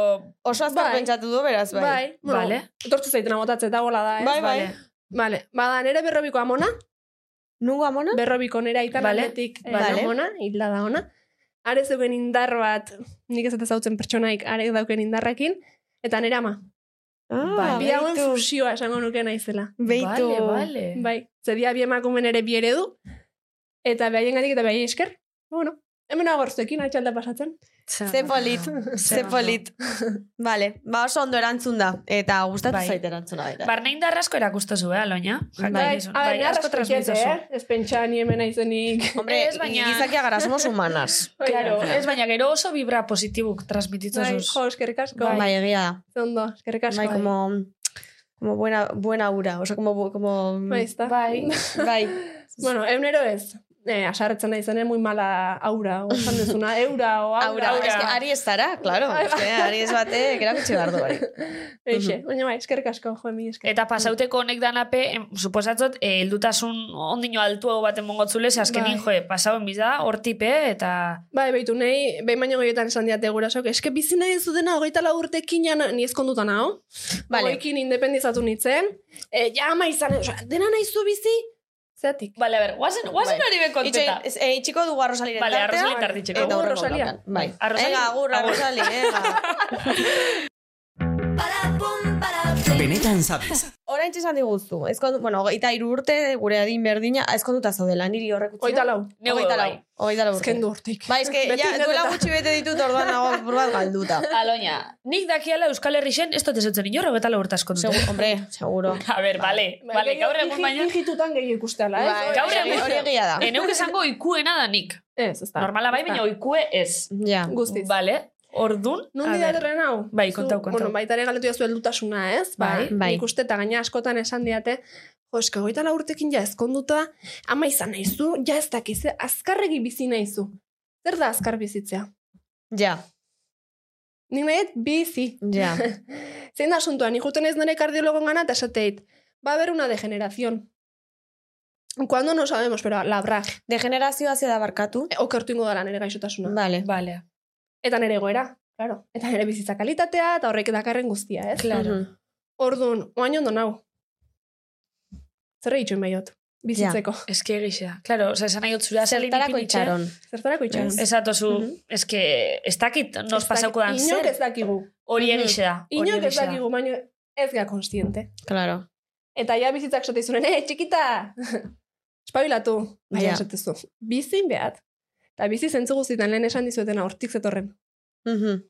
Oso azkar
Bai.
pentsatu du, beraz, bai.
Bai, bueno,
Vale.
etortu zaitena botatzen eta bola da, eh?
Bai, bai.
Bale.
Vale, bada nere berrobiko amona,
Nungo amona?
berrobiko nere aitan
Vale.
aldetik eh,
Vale.
amona, hilda da ona. Are zeuken indar bat, nik ez eta zautzen pertsonaik arek dauken indarrakin, eta nere ama.
Ah,
Bi hauen
beitu.
fusioa esango nuke naizela.
Beitu.
Bale, bale.
Bai, zedia bi emakumen ere bi eredu, eta behaien gatik eta behaien esker. Bueno, hemen agortzekin atxalda pasatzen.
Ze polit, ze polit. Vale, ba oso ondo erantzun da. Eta gustatu
Bai.
zait erantzuna baita.
Barne indar asko erakustozu, eh, aloina? Jakin dizun.
a
bai,
ber,
asko transmitozu.
eh? Ez pentsa ni hemen aizenik.
Hombre,
Ez, baina-
gizakia gara somos humanas.
Bai, Claro, ez
ba-
baina gero oso vibra positibuk
Bai,
transmitituzuz.
jo, eskerrik asko.
Bai.
Bai, egia da.
Zondo, eskerrik asko. eh.
Bai, como... Como buena, buena aura, oso como... bu- como
Bai, ezta?
bai.
Bueno, eunero ez. Eh, asarretzen nahi zen, eh, muy mala aura, o esan duzuna, eura, o aura.
Aura,
aura.
Es que ari ez zara, claro. Es que ari ez bate, erakutsi behar du hori.
Eixe, baina bai, eskerrik asko, jo, mi esker.
Eta pasauteko honek danape, em, suposatzot, eh, heldutasun ondino altuago baten mongotzule, ze azkenin,
Bai.
jo, eh, pasauen biza, hortipe, eta...
Bai, beitu nahi, behin baino gehietan esan diate gurasok, eske bizi nahi zudena, hogeita la urtekin jana, ni ezkonduta nao.
Vale.
Hogekin independizatu nintzen. E, ja, ama izan, osea, dena nahi zu bizi? Zeatik.
Bale, a ber, guazen, guazen
Bai.
hori bekonteta.
Itxo- eh, itxiko dugu arrosaliren
Vale,
tartea.
arrozalin tartitxeko.
Eta
Agur,
agur,
Rosalia.
Rosalia. Bai.
Arrozali,
Venga, agur,
agur.
arrosali, venga.
Benetan sabes.
Orain txesan diguzu, ezkondu, bueno, hogeita iru urte, gure adin berdina, ezkonduta zaudela, niri horrek utzi.
Oita lau.
Neu
hogeita lau,
bai.
hogeita lau urte.
Ezkendu urtik.
Ba, eske,
Beti
ja,
independa.
duela gutxi bete ditut orduan nago burbat galduta.
Aloña, nik dakiala Euskal Herri zen, ez dut ezotzen inorro betala urtazko dute.
Segu, hombre, seguro.
A ber, bale, bale, gaur egun baina...
Bai, Ingitutan gehi ikusteala, ez?
Bai,
gaur egun-
hori egia da.
Eneuk esango ikuena da nik.
Ez, ez da.
Normala bai, baina oikue ez.
Ja.
Guztiz.
Bale, ordun...
Nondi da derren hau?
Bai,
Zu-
kontau, kontau.
Bueno, baita ere galdetu jazu heldutasuna, ez? Ba,
Bai,
bai.
Nik uste eta gaina askotan esan diate, jo, eske goita urtekin ja ezkonduta, ama izan naizu, ja ez dakiz, eh, azkarregi bizi naizu. Zer da azkar bizitzea?
Ja,
Nik nahi dut bizi.
ja.
Zein da asuntua, nik juten ez nire kardiologon gana eta esateit, va a haber una degeneración. Cuando no sabemos, pero labra.
Degenerazioa zea da barkatu.
Okertu ingo dara nire gaixotasuna.
Bai.
Vale.
Bale.
Eta nire goera, claro. Eta nire bizitza kalitatea, eta horrek dakarren guztia, ez?
Claro.
Mhm.
Orduan, oain ondo nau. Zer egitxo inbaiot, bizitzeko.
Eske egisa. Claro, oza, esan nahi otzura zelin
Zertarako
ipinitxe.
itxaron.
Zertarako itxaron.
Ez atozu,
Mhm.
eske, ez dakit nos
Ez
pasauko
daki-
dan
Inork
zer.
ez dakigu.
Hori egixe da. hori
Inork ez
egixe da.
dakigu, baina ez ga konstiente.
Claro.
Eta ja bizitzak sotizunen, eh, txikita! Espabilatu. Baina
Ja.
esatezu. Bizin behat. Eta bizi zentzu guztietan lehen esan dizuetena hortik zetorren.
Mhm.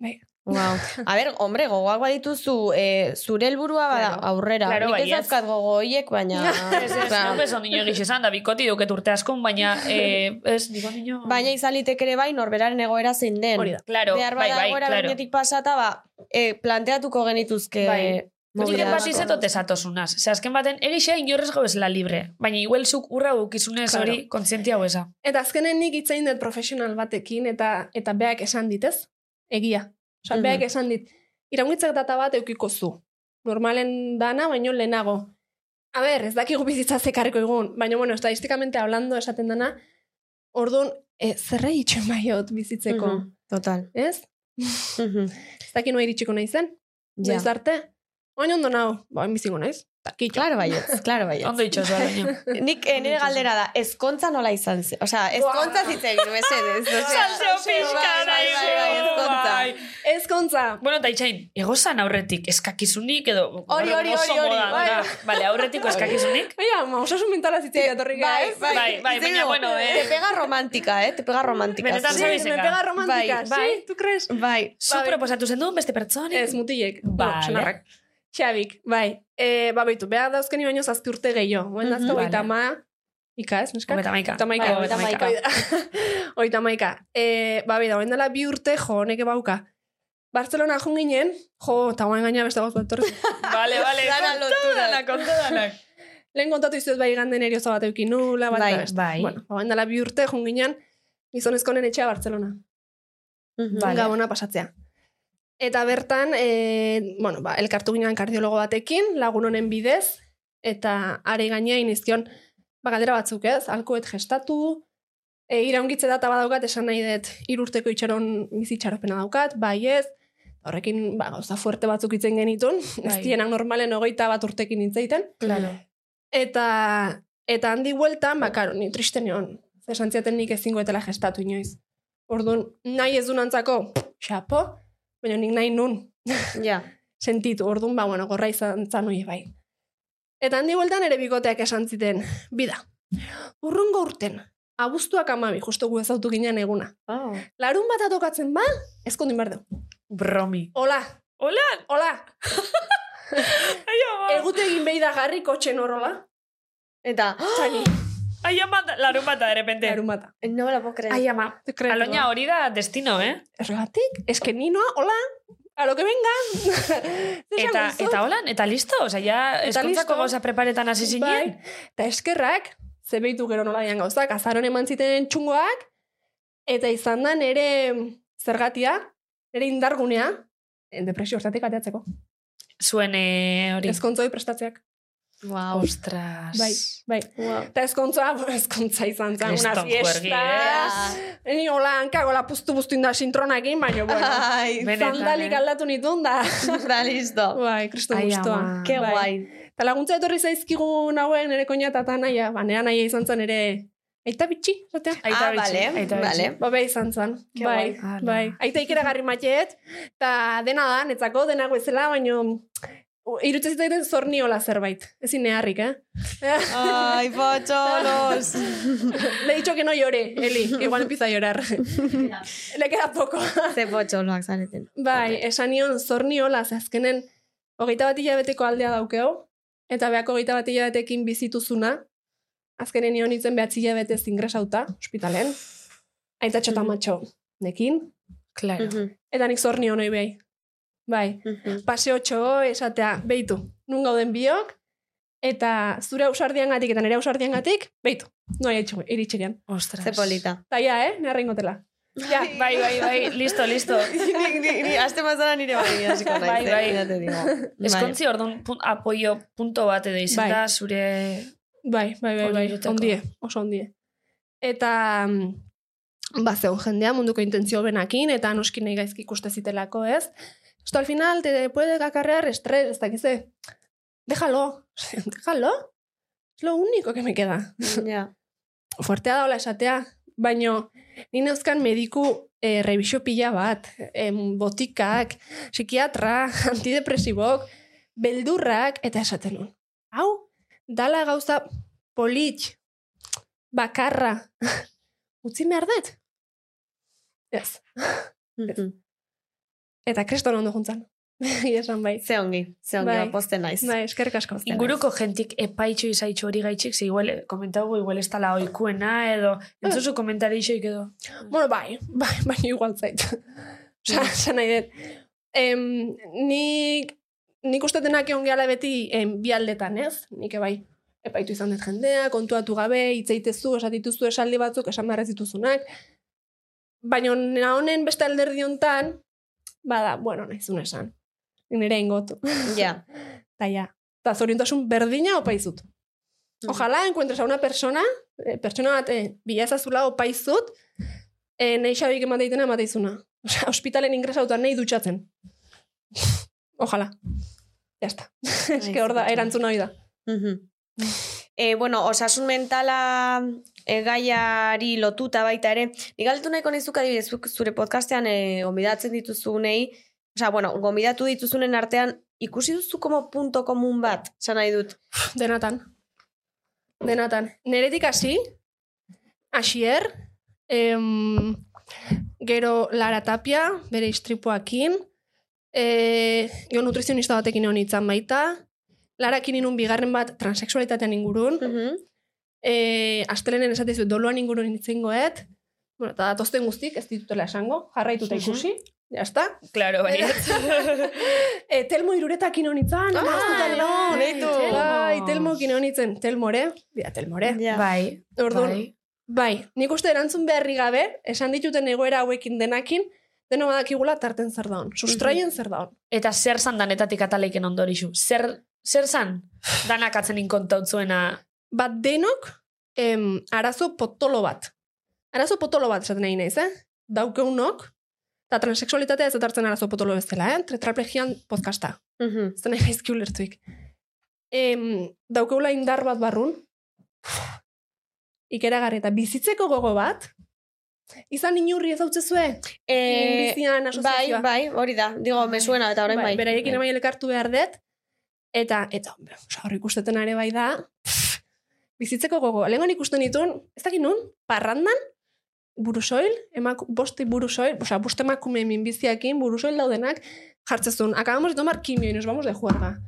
Bai.
Wow. A ber, hombre, gogoak badituzu, eh, zure helburua bada
Claro.
aurrera.
Claro,
Nik ez
baietz.
dauzkat gogo hoiek, baina...
Ez, ez,
Osea,
neu bezon dino egixe da bikoti duket urte askon, baina eh, ez, niko dino...
Baina izan liteke ere bai norberaren egoera zein den.
Hori da.
Claro,
Behar
bai,
bada
bai,
egoera
claro.
behinetik pasata, ba, eh, planteatuko genituzke
Bai.
bai.
Nik bat izetot esatosunaz. Ze azken baten, egixea inorrez bezala libre. Baina iguelzuk urra dukizunez
Claro.
hori kontzientia huesa.
Eta azkenen nik itzein dut profesional batekin, eta eta beak esan dit, ez? Egia. Osa,
Mhm.
beak esan dit, iraungitzak data bat eukiko zu. Normalen dana, baino lehenago. A ber, ez dakigu bizitza zekarriko egun, baina, bueno, estadistikamente hablando esaten dana, orduan, e, zerre itxuen baiot bizitzeko,
Mhm, Total.
ez?
Mhm,
Ez daki noa iritsiko nahi zen,
Ja.
noiz arte, oin ondo nao, ba, oin biziko naiz, dakitxo.
Claro baietz, claro baietz.
Ondo itxosoa, baina.
Nik eh, nire galdera da, ezkontza nola izan zen? Osea, ezkontza zitzen, mesedez. Osea,
Salseo pixka,
Bai, bai, bai, bai,
nahi zu,
ezkontza.
bai.
Ez kontza,
Bueno, eta itxain, egozan aurretik eskakizunik edo...
Hori, hori,
oso
hori, hori,
modan
bai.
da. Vale, aurretiko eskakizunik.
Baina, ma, osasun mentala zitzen datorri gara,
Bai,
ez?
bai,
Bai, bai,
Izen
baina,
dugu,
bueno, eh.
Te pega romántica, eh? Te pega romántica.
Benetan
zu.
zabe-
Sí, me
Zabezeka.
Bai, pega romántica,
Bai,
sí,
bai.
tu crees?
Bai.
Zu
Bai.
proposatu zen duen beste pertsonik.
Ez, mutilek.
Vale.
Bueno, senarrak. Xabik, bai. E, ba, beitu, behar dauzkeni baino zazpi urte gehiago. Oen dazka
Mhm.
hogeita
Vale.
ma... Ika, ez, neska?
Hogeita maika.
Hogeita maika.
Bai, hogeita maika.
Oita maika. E, ba, bera, oen dela bi urte jo, neke bauka. Barcelona jun ginen, jo, eta oain gaina beste gauz bat etorri.
Vale, vale.
Dana lotura.
konta danak.
Lehen kontatu izuet bai ganden erioza bat eukin nula, bat
Bai,
eta beste.
bai.
Bueno, oen dela bi urte jun ginen, gizonezkonen etxea Barcelona.
Mhm.
Vale.
Gabona pasatzea. Eta bertan, e, bueno, ba, elkartu ginen kardiologo batekin, lagun honen bidez, eta are gainean izkion, ba, galdera batzuk ez, alkoet gestatu, e, iraungitze data badaukat, esan nahi dut, irurteko itxaron bizitxaropena daukat, bai ez, horrekin, ba, gauza fuerte batzuk itzen genitun, ez
Bai.
dienak normalen hogeita bat urtekin itzaiten,
Claro.
Eta, eta handi bueltan, ba, karo, ni triste nion. Esan ziaten nik ezingoetela gestatu inoiz. Orduan, nahi ez dunantzako, xapo, baina nik nahi nun
Ja.
sentitu. Orduan, ba, bueno, gorra izan zanui bai. Eta handi bueltan ere bikoteak esan ziten, bida, urrungo urten, abuztuak amabi, justu gu ezautu ginen eguna.
Oh.
Larun bat atokatzen ba, ezkondin behar dugu.
Bromi.
Hola,
Hola!
hola,
Aia, ba.
egutegin behi da jarri kotxen horrola.
Eta,
Txani,
Aia, ma, larun bata, de repente.
larun bata.
no me la puedo creer.
Aia, ma. Aloña hori da destino, eh?
Erregatik, eske ni noa, hola, a lo que venga. Zer
Eta,
esango
eta holan, eta listo? Osa, ja,
Eta listo.
eskontzako gauza preparetan hasi
duzu?
zinen.
Bai, eta eskerrak, ze behitu gero nola dian gauzak, azaron eman ziten txungoak, eta izan da nere zergatia, nere indargunea, eh, depresio hortatik ateatzeko.
Zuen eh, hori.
Ezkontzoi prestatzeak.
Wow.
Ostras.
Bai, bai. Eta ezkontza, bo, ezkontza izan zen, una
Kriston juergi,
fiesta.
eh?
Ni hola hankago la puztu puztu inda sintronakin, baina, bueno,
Ai,
Benetan,
sandalik
eh?
aldatu nitun da.
zufra listo.
Bai, kristo
Ai,
guztua.
ama.
Ke
Bai.
guai.
Eta laguntza etorri zaizkigu nauen ere koina eta ta naia, ba, nera naia izan zen ere, aita bitxi, zatea.
Aita
Ah,
bitxi,
vale,
aita bitxi.
vale.
Ba, beha izan zen,
Ke
bai,
guai.
Ala.
bai. Aita ikeragarri mateet, eta dena da, netzako, dena bezala, baino, u- irutze zitaiten zorniola zerbait. Ezin neharrik, eh?
Ai, potxolos.
Le he dicho que no llore, Eli, que igual empieza a llorar. Le queda poco.
Ze potxoloak zareten.
Bai, esan nion zorni hola, ze azkenen hogeita bat hilabeteko aldea daukeo, eta behako hogeita bat hilabetekin bizituzuna, azkenen nion itzen behatzi hilabetez ingresauta, ospitalen, aita txota matxo, nekin, Mm.
Claro.
Mhm,
eta nik zorni honoi behi. Bai,
mhm.
paseotxo esatea, beitu, nun gauden biok, eta zure ausardian gatik, eta nire ausardian gatik, beitu, noa iritxerian.
Ostras.
Ze polita.
Ta ja, eh, nea reingotela. Ja,
Bai, bai, bai, listo, listo.
ni, ni, ni, aste mazara nire bai, hasiko naiz,
Bai,
eh,
bai.
ya te digo. Bai.
Eskontzi orduan pun, apoio punto bat edo izan
Bai.
da zure...
Bai, bai, bai,
Hori
bai,
egiteko.
ondie, oso ondie. Eta, mm, ba, zeon jendea munduko intentzio benakin, eta noski nahi gaizki ikuste zitelako, ez? Esto al final te puede acarrear estrés, ez dakize. Déjalo, déjalo. Es lo único que me queda.
Ja.
Fuertea daola esatea, baino, ni neuzkan mediku eh, revisio pila bat, em, botikak, psikiatra, antidepresibok, beldurrak, eta esaten nun. Hau, dala gauza polit, bakarra, utzi behar dut. Ez.
Mhm.
Eta kriston ondo juntzan. Ia esan bai.
Ze ongi, ze ongi,
Bai.
ba, pozten naiz.
Bai, eskerrik asko.
Inguruko jentik epaitxo izaitxo hori gaitxik, ze igual, eh, komentago igual ez tala oikuena edo, entzuzu komentarixoik edo.
Bueno, bai, bai, baina igual zait. Osa, esan nahi dut. Em, nik, nik uste denak egon gehala beti em, bi aldetan, ez? Nik ebai, epaitu izan dut jendea, kontuatu gabe, itzeitezu, esatituzu esaldi batzuk, esan beharrez dituzunak. Baina na honen beste alderdi hontan, bada, bueno, naizun esan. Nik Nire ingotu.
Ja.
Ta ja, eta zoriontasun berdina opaizut. Ojalá encuentres a una persona, eh, pertsona bat, eh, bila ezazula opaizut, eh, nahi xabik emateitena emateizuna. Osea, ospitalen ingresautan nahi dutxatzen. Ojalá. Ya está. Es que hor da, erantzuna hori da.
Mhm. Eh, bueno, osasun mentala eh, gaiari lotuta baita ere. Nik galdetu nahiko nizuk adibidez, zuk zure podcastean eh, gonbidatzen dituzunei, osea, bueno, gonbidatu dituzunen artean ikusi duzu como punto komun bat, esan nahi dut.
Denatan. Denatan. Neretik hasi, Asier, em, gero Lara Tapia, bere istripuakin, e, jo nutrizionista batekin egon nintzen baita, Larakin inun bigarren bat transexualitatean ingurun,
Mhm.
e, astelenen esatezu doloan ingurun nintzengoet, bueno, eta datosten guztik, ez ditutela esango, jarraituta ikusi, jazta.
Claro, bai.
e, telmo iruretakin honitzen, ah,
no, neitu.
Bai, telmokin honitzen, telmore, bida telmore.
Ja.
Bai.
Orduan,
bai.
Bai, nik uste erantzun beharri gabe, esan dituten egoera hauekin denakin, deno badakigula tarten zer daun, sustraien zer daun.
Eta zer zan danetatik ataleiken ondorixu? Zer, zer zan danak atzenin kontautzuena?
Bat denok, em, arazo potolo bat. Arazo potolo bat esaten nahi naiz, eh? Daukeunok, eta transexualitatea ez atartzen arazo potolo bezala, eh? Tetraplegian podcasta.
Mhm.
Ez da nahi gaizki ulertuik. Em, daukeula indar bat barrun, ikeragarri eta bizitzeko gogo bat, izan inurri ez zue,
Eh,
bizian
bai,
asoziazioa.
bai, hori da. Digo, me suena eta orain bai.
bai, beraiekin bai. elkartu behar dut, eta, eta, hombre, osa, hor ikusteten are bai da, pff, bizitzeko gogo. Lehenko ikusten ditun, ez dakit nun, parrandan, burusoil, emak, bosti burusoil, osa, boste emakume minbiziakin, burusoil daudenak, jartzezun, akabamos de tomar kimio y nos vamos de juerga.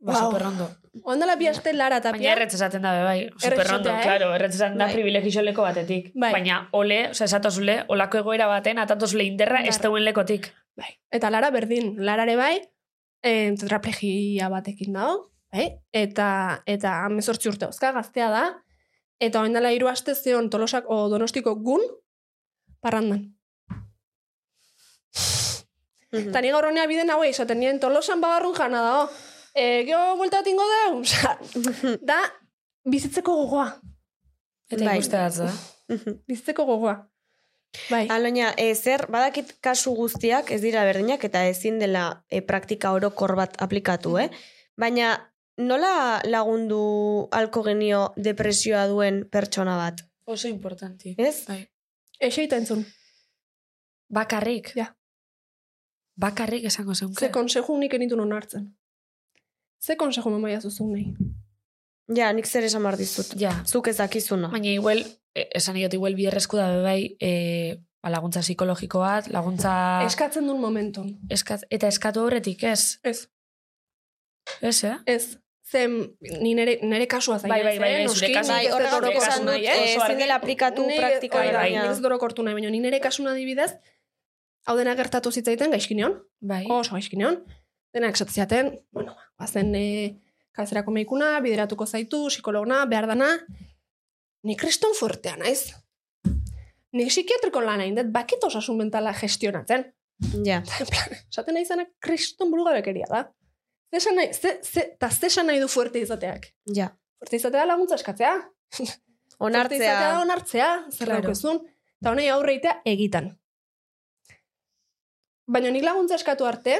Ba,
Wow.
superrondo.
Ondala bi aste lara eta
Baina erretz esaten dabe, bai. Superrondo,
esatea, eh?
claro. Erretz esaten da
Bai.
privilegio leko batetik.
Bai.
Baina ole, osea, esatozule, olako egoera baten, atatozule inderra, ez
Indarra.
teuen lekotik.
Bai. Eta Lara berdin, Larare bai, eh, tetraplegia batekin dago, bai? Eta eta 18 urte dauzka gaztea da eta orain dela 3 aste zeon Tolosak o Donostiko gun parrandan.
Hmm.
Mhm.
Eta ni gaur honea bide nagoa izaten nien Tolosan babarrun jana dago. Eh, gero vuelta tingo deu, osea, da bizitzeko gogoa,
Eta
Bai.
ikuste datza.
bizitzeko gogoa. Bai.
Aloina, e, zer, badakit kasu guztiak ez dira berdinak eta ezin dela e, praktika orokor bat aplikatu, eh? Baina nola lagundu alko genio depresioa duen pertsona bat,
Oso importanti.
ez?
Bai.
Eseita entzun.
Bakarrik.
Ja.
Bakarrik esango zeunke.
Ze konseju nik enitu non hartzen. Ze konseju mamaia zuzun nahi.
Ja, nik zer esan behar dizut.
Ja.
Zuk ez dakizuna.
Baina igual, e, esan iot, igual biherrezku da bai, e, ba, laguntza psikologiko bat, laguntza...
Eskatzen duen momenton.
eskat, eta eskatu horretik, ez?
Ez.
Ez, eh?
Ez. Zen, ni nere, nere kasua zain.
Bai, bai, bai, bai, zure
noski,
kasua.
nik
Bai,
ez dut
horregatik
orokortu
esan dut,
nahi,
eh,
eh?
Oso
ezin
argi.
dela aplikatu
Ni-
praktika,
hori
hori da,
bai,
nik
baina...
ez dut orokortu nahi, baina ni nere kasuna adibidez, hau dena gertatu zitzaiten gaizkineon,
Bai.
oso gaizkineon, denak esatziaten, bueno, bazen e, kazerako meikuna, bideratuko zaitu, psikologuna, behar dana, ni kriston fuertea naiz. Ni psikiatriko lan hain dut, bakit osasun mentala gestionatzen.
Ja.
En plan, esaten nahi zena kriston burugabekeria da. Zesan nahi, ze, ze, ta zesan nahi du fuerte izateak.
Ja.
Fuerte izatea laguntza eskatzea. Fuerte
Onartzea.
izatea onartzea, zer
Claro.
claro. daukezun. Eta honei aurreitea egitan. Baina nik laguntza eskatu arte,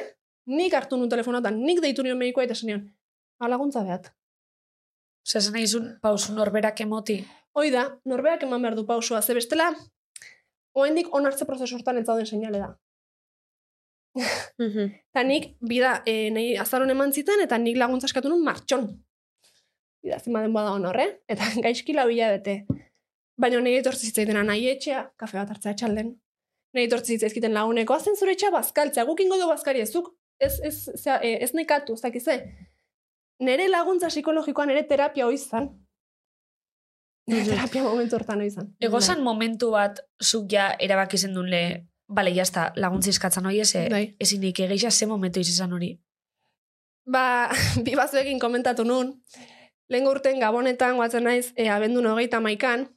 nik hartu nun telefonatan, nik deitu nion medikoa eta esan nion. Hau laguntza behat.
Osea, esan nahi zuen, pausu norberak emoti.
Hoi da, norberak eman behar du pausua, ze bestela, oaindik onartze prozesu hortan ez dauden seinale da.
Mhm.
Eta nik, bida, e, nahi azaron eman zitan, eta nik laguntza eskatu nun martxon. Bida, zima denboa da hon horre, eh? eta gaizki lau hilabete. Baina nahi etortzi zitzaidena nahi etxea, kafe bat hartzea etxalden. Nahi etortzi zitzaizkiten laguneko, azen zure etxea bazkaltzea, guk ingo du bazkari ezuk, ez, ez, zea, e, ez nekatu, ez dakize. Nere laguntza psikologikoan nere terapia hoi izan. Nere terapia momentu hortan hoi izan.
Egozan momentu bat, zuk ja erabaki zen duen le, bale, jazta, laguntzi eskatzen hori, ez, eh?
Bai.
ezin eik egeixa ze momentu izan hori.
Ba, bi batzuekin komentatu nun. Lengo urten Gabonetan guatzen naiz e, abendun hogeita maikan.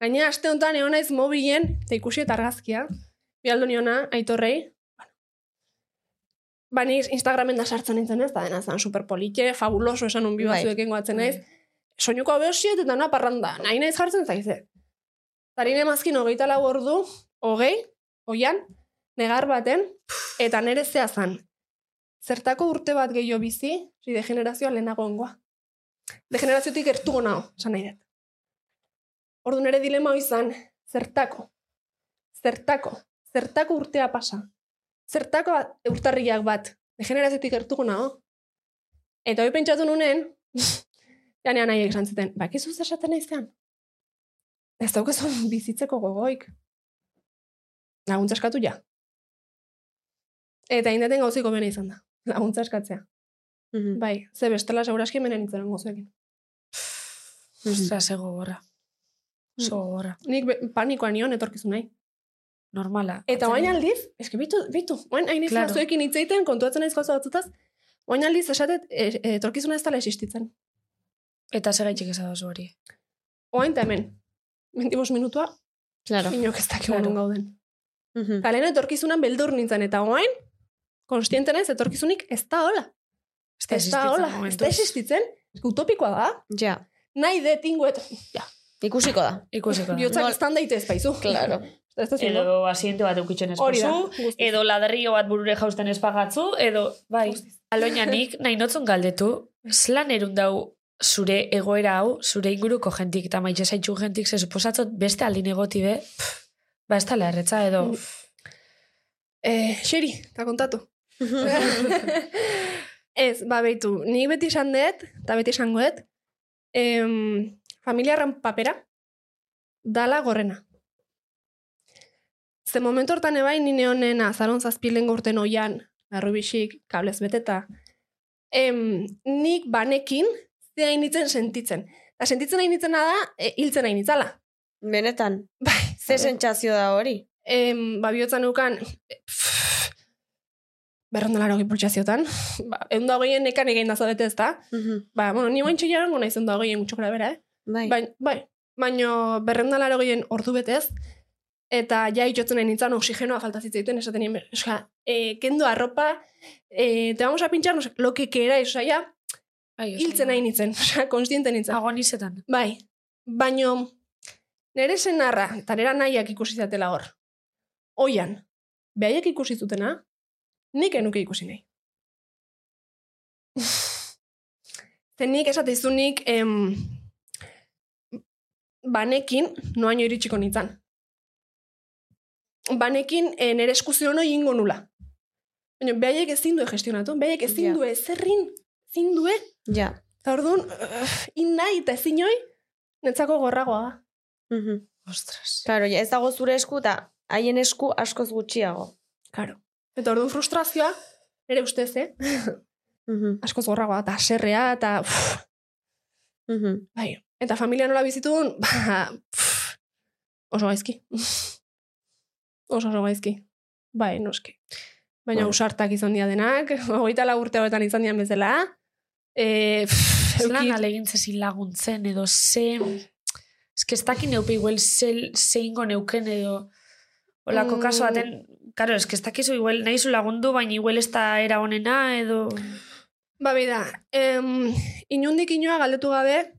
Gaina aste honetan egon naiz mobilen, eta ikusi eta argazkia. Bialdu niona, aitorrei. Bueno. ba, ni Instagramen da sartzen nintzen ez, da dena zan superpolite, fabuloso esan un biba
Bai.
zuekin goatzen naiz. Soinuko abesiet eta noa parranda, nahi naiz jartzen zaize. Zarin emazkin hogeita lau ordu, hogei, oian, negar baten, eta nere zea zan. Zertako urte bat gehiago bizi, si degenerazioa lehenago ongoa. Degeneraziotik ertugo nao, esan nahi dut. Ordu nere dilema hoi izan, zertako, zertako, zertako urtea pasa. Zertako urtarriak bat, degeneraziotik ertuko nao. Eta hoi pentsatu nunen, janean nahi esan zuten, bakizu zer esaten naizkan? Ez daukazu bizitzeko gogoik. Laguntza eskatu ja. Eta indaten gauziko bene izan da. Laguntza eskatzea.
Mhm.
Bai, ze bestela seguraski menen nintzen gozuekin. Mm-hmm.
Ostra, ze gogorra.
Mm.
Oso gogorra.
Nik be- panikoa nion etorkizun nahi.
Normala.
Eta oain aldiz, eske bitu, bitu, oain hain izan
Claro.
zuekin hitz egiten kontuatzen naiz gauza batzutaz, oain aldiz esatet e, e, etorkizuna ez dela existitzen.
Eta ze gaitxik ezadozu hori.
Oain eta hemen, mentibos minutua,
Claro.
inok ez dakik
Claro.
claro. gauden.
Mhm.
Eta lehen etorkizunan beldur nintzen, eta oain, konstiente naiz etorkizunik ez da hola.
Este
Ez da hola, ez da existitzen, eske utopikoa da,
Ja,
nahi det ingoet, ja,
ikusiko da.
Ikusiko da.
bihotzak estan daite ez baizu.
Claro.
Ez da zildo.
Edo asiente bat eukitzen
Hori da.
espozu,
guztiz.
edo ladrillo bat burure jausten espagatzu, edo, bai, aloina nik nahi notzun galdetu, zlan erun dau zure egoera hau, zure inguruko jentik, eta maitxe zaitxu jentik, ze suposatzot beste aldin egotibe, pff, ba ez tala erretza, edo,
Mm. Eh, xeri, eta kontatu. Ez, ba, beitu, ni beti esan dut, eta beti esango dut, em, familiarran papera, dala gorrena. Ze momentu hortan ebai, nine honen azaron zazpilen gorten oian, arrubixik, kablez beteta. Em, nik banekin, ze hainitzen sentitzen. Eta sentitzen hainitzena da, e, hiltzen hainitzala.
Benetan,
Bai,
ze sentsazio da hori?
em, ba, bihotza neukan, berrondalaro gipultxaziotan, ba, egun da hogeien nekan egin da zarete ez da.
Mhm.
Ba, bueno, ni guain txilaren gona izan da hogeien gutxo grabera, eh?
Bai.
Bai, bai, baino berrondalaro gehien ordu betez, eta ja itxotzen nahi nintzen oxigenoa falta zitzaiten, esaten nien, eska, e, kendo arropa, e, te vamos a pinchar, no sé, lo que queráis, osea, ja,
bai, oso-
hiltzen nahi nintzen, osea, konstiente nintzen.
agonizetan.
Bai, baino nere senarra eta nera nahiak ikusi zatela hor. Oian, behaiek ikusi zutena, nik enuke ikusi nahi. Zen nik esateizunik em, banekin noaino iritsiko nintzen. Banekin eh, nere eskuziono ingo nula. Baina behaiek ezin du gestionatu, behaiek ezin
Ja.
du ezerrin, ezin due
Ja.
Eta orduan, eh, in nahi eta ezin hoi, netzako gorragoa da.
Mhm.
Ostras.
Claro, ja, ez dago zure esku eta haien esku askoz gutxiago.
Claro. Eta orduan frustrazioa, nire ustez, eh?
Mhm.
Askoz gorragoa, eta serrea, eta... uff,
Mhm.
bai. Eta familia nola bizitun, ba, uff, oso gaizki. oso oso gaizki. Bai, noski. Baina
Bai.
usartak izan dira denak, hogeita lau urte hauetan izan dian bezala. E, pff,
Zelan
euki-
alegin zezin laguntzen, edo ze... Ez que ez dakin neupe igual ze, ze ingo neuken edo... Olako
Mm.
kaso baten... Karo, ez que ez dakizu igual nahi zu lagundu, baina igual ez da era honena edo...
Ba, bida, em, inundik inoa galdetu gabe,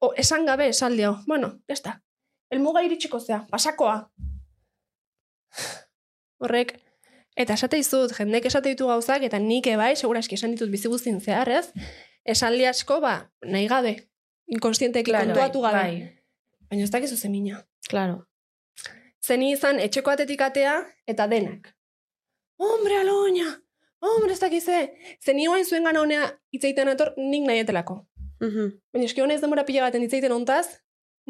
o, esan gabe esaldi hau. Bueno, ya está. Elmuga iritsiko zea, pasakoa. Horrek, eta esate izut, jendek esate ditu gauzak, eta nik ebai, seguraski esan ditut bizi guztin zehar, ez? Esaldi asko, ba, nahi gabe. Inkonstienteki
bai,
kontuatu gabe. Baina ez dakizu zemina.
Claro.
Zeni izan etxeko atetik atea eta denak. Hombre, aloña! Hombre, ez dakize! Zeni oain zuen gana honea itzaiten ator nik nahi etelako.
Mhm.
Baina eski honez denbora pila baten itzaiten ontaz,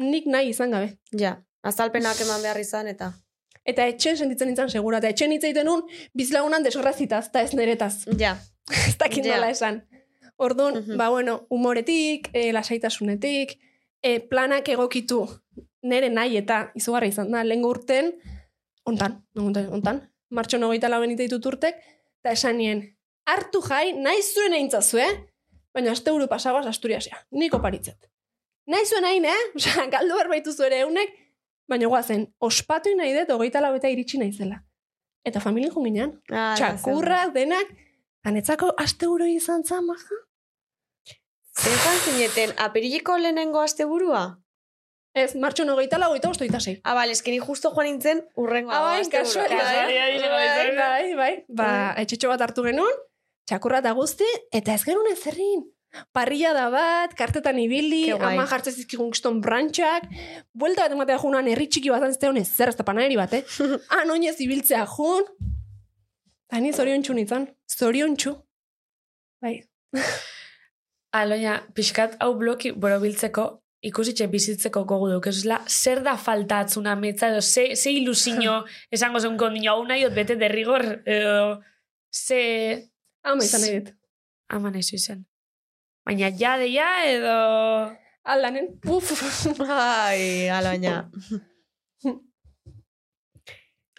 nik nahi izan gabe.
Ja. Azalpenak eman behar izan eta...
Eta etxen sentitzen nintzen segura, eta etxen itzaiten un bizlagunan desorrazitaz, eta ez neretaz.
Ja.
ez dakit
Ja.
nola esan. Orduan,
Mhm.
ba bueno, umoretik, eh, lasaitasunetik, eh, planak egokitu nere nahi eta izugarra izan da, lehengo urten, ontan, ontan, ontan, martxon hogeita lauen ite ditut urtek, eta esan nien, hartu jai, nahi zuen eintzazu, eh? Baina aste buru pasagoaz asturiasia, niko paritzet. Nahi zuen hain, eh? Osa, galdu berbaitu zuere eunek, baina guazen, ospatu nahi dut hogeita laueta iritsi naizela. Eta familien junginan.
Ah, da,
Txakurra, denak, anetzako aste uro izan zan, maja.
zer. Zertan zineten, aperiliko lehenengo asteburua?
Ez, martxon hogeita lau, ogeita bostu, ogeita sei.
Ah, bale, eskeni justo joan nintzen urrengo
Ah, bai,
asteburua.
Kasualidad,
kasualidad.
izango
Bai,
zen.
bai, bai. Ba, etxetxo bat hartu genuen, txakurra eta guzti, eta ez genuen ezerrin. Parrilla da bat, kartetan ibili,
Ke guai.
ama jartzen zizkigun kiston brantxak, buelta bat ematea junan herri txiki bat antzteon ez zer, ez da panaeri bat, eh? Han oinez ibiltzea jun. Eta ni zorion txu nintzen, zorion txu. Bai.
Aloia, Ah, pixkat hau bloki borobiltzeko ikusitxe bizitzeko gogu dukezela, zer da faltatzuna metza edo, ze, ze ilusio esango zeunko nio, hau nahi dut bete derrigor, edo, ze
Ama izan nahi dit.
ama nahi izan. Baina ja deia edo...
Aldanen. Uf.
Bai, Ai, alaina.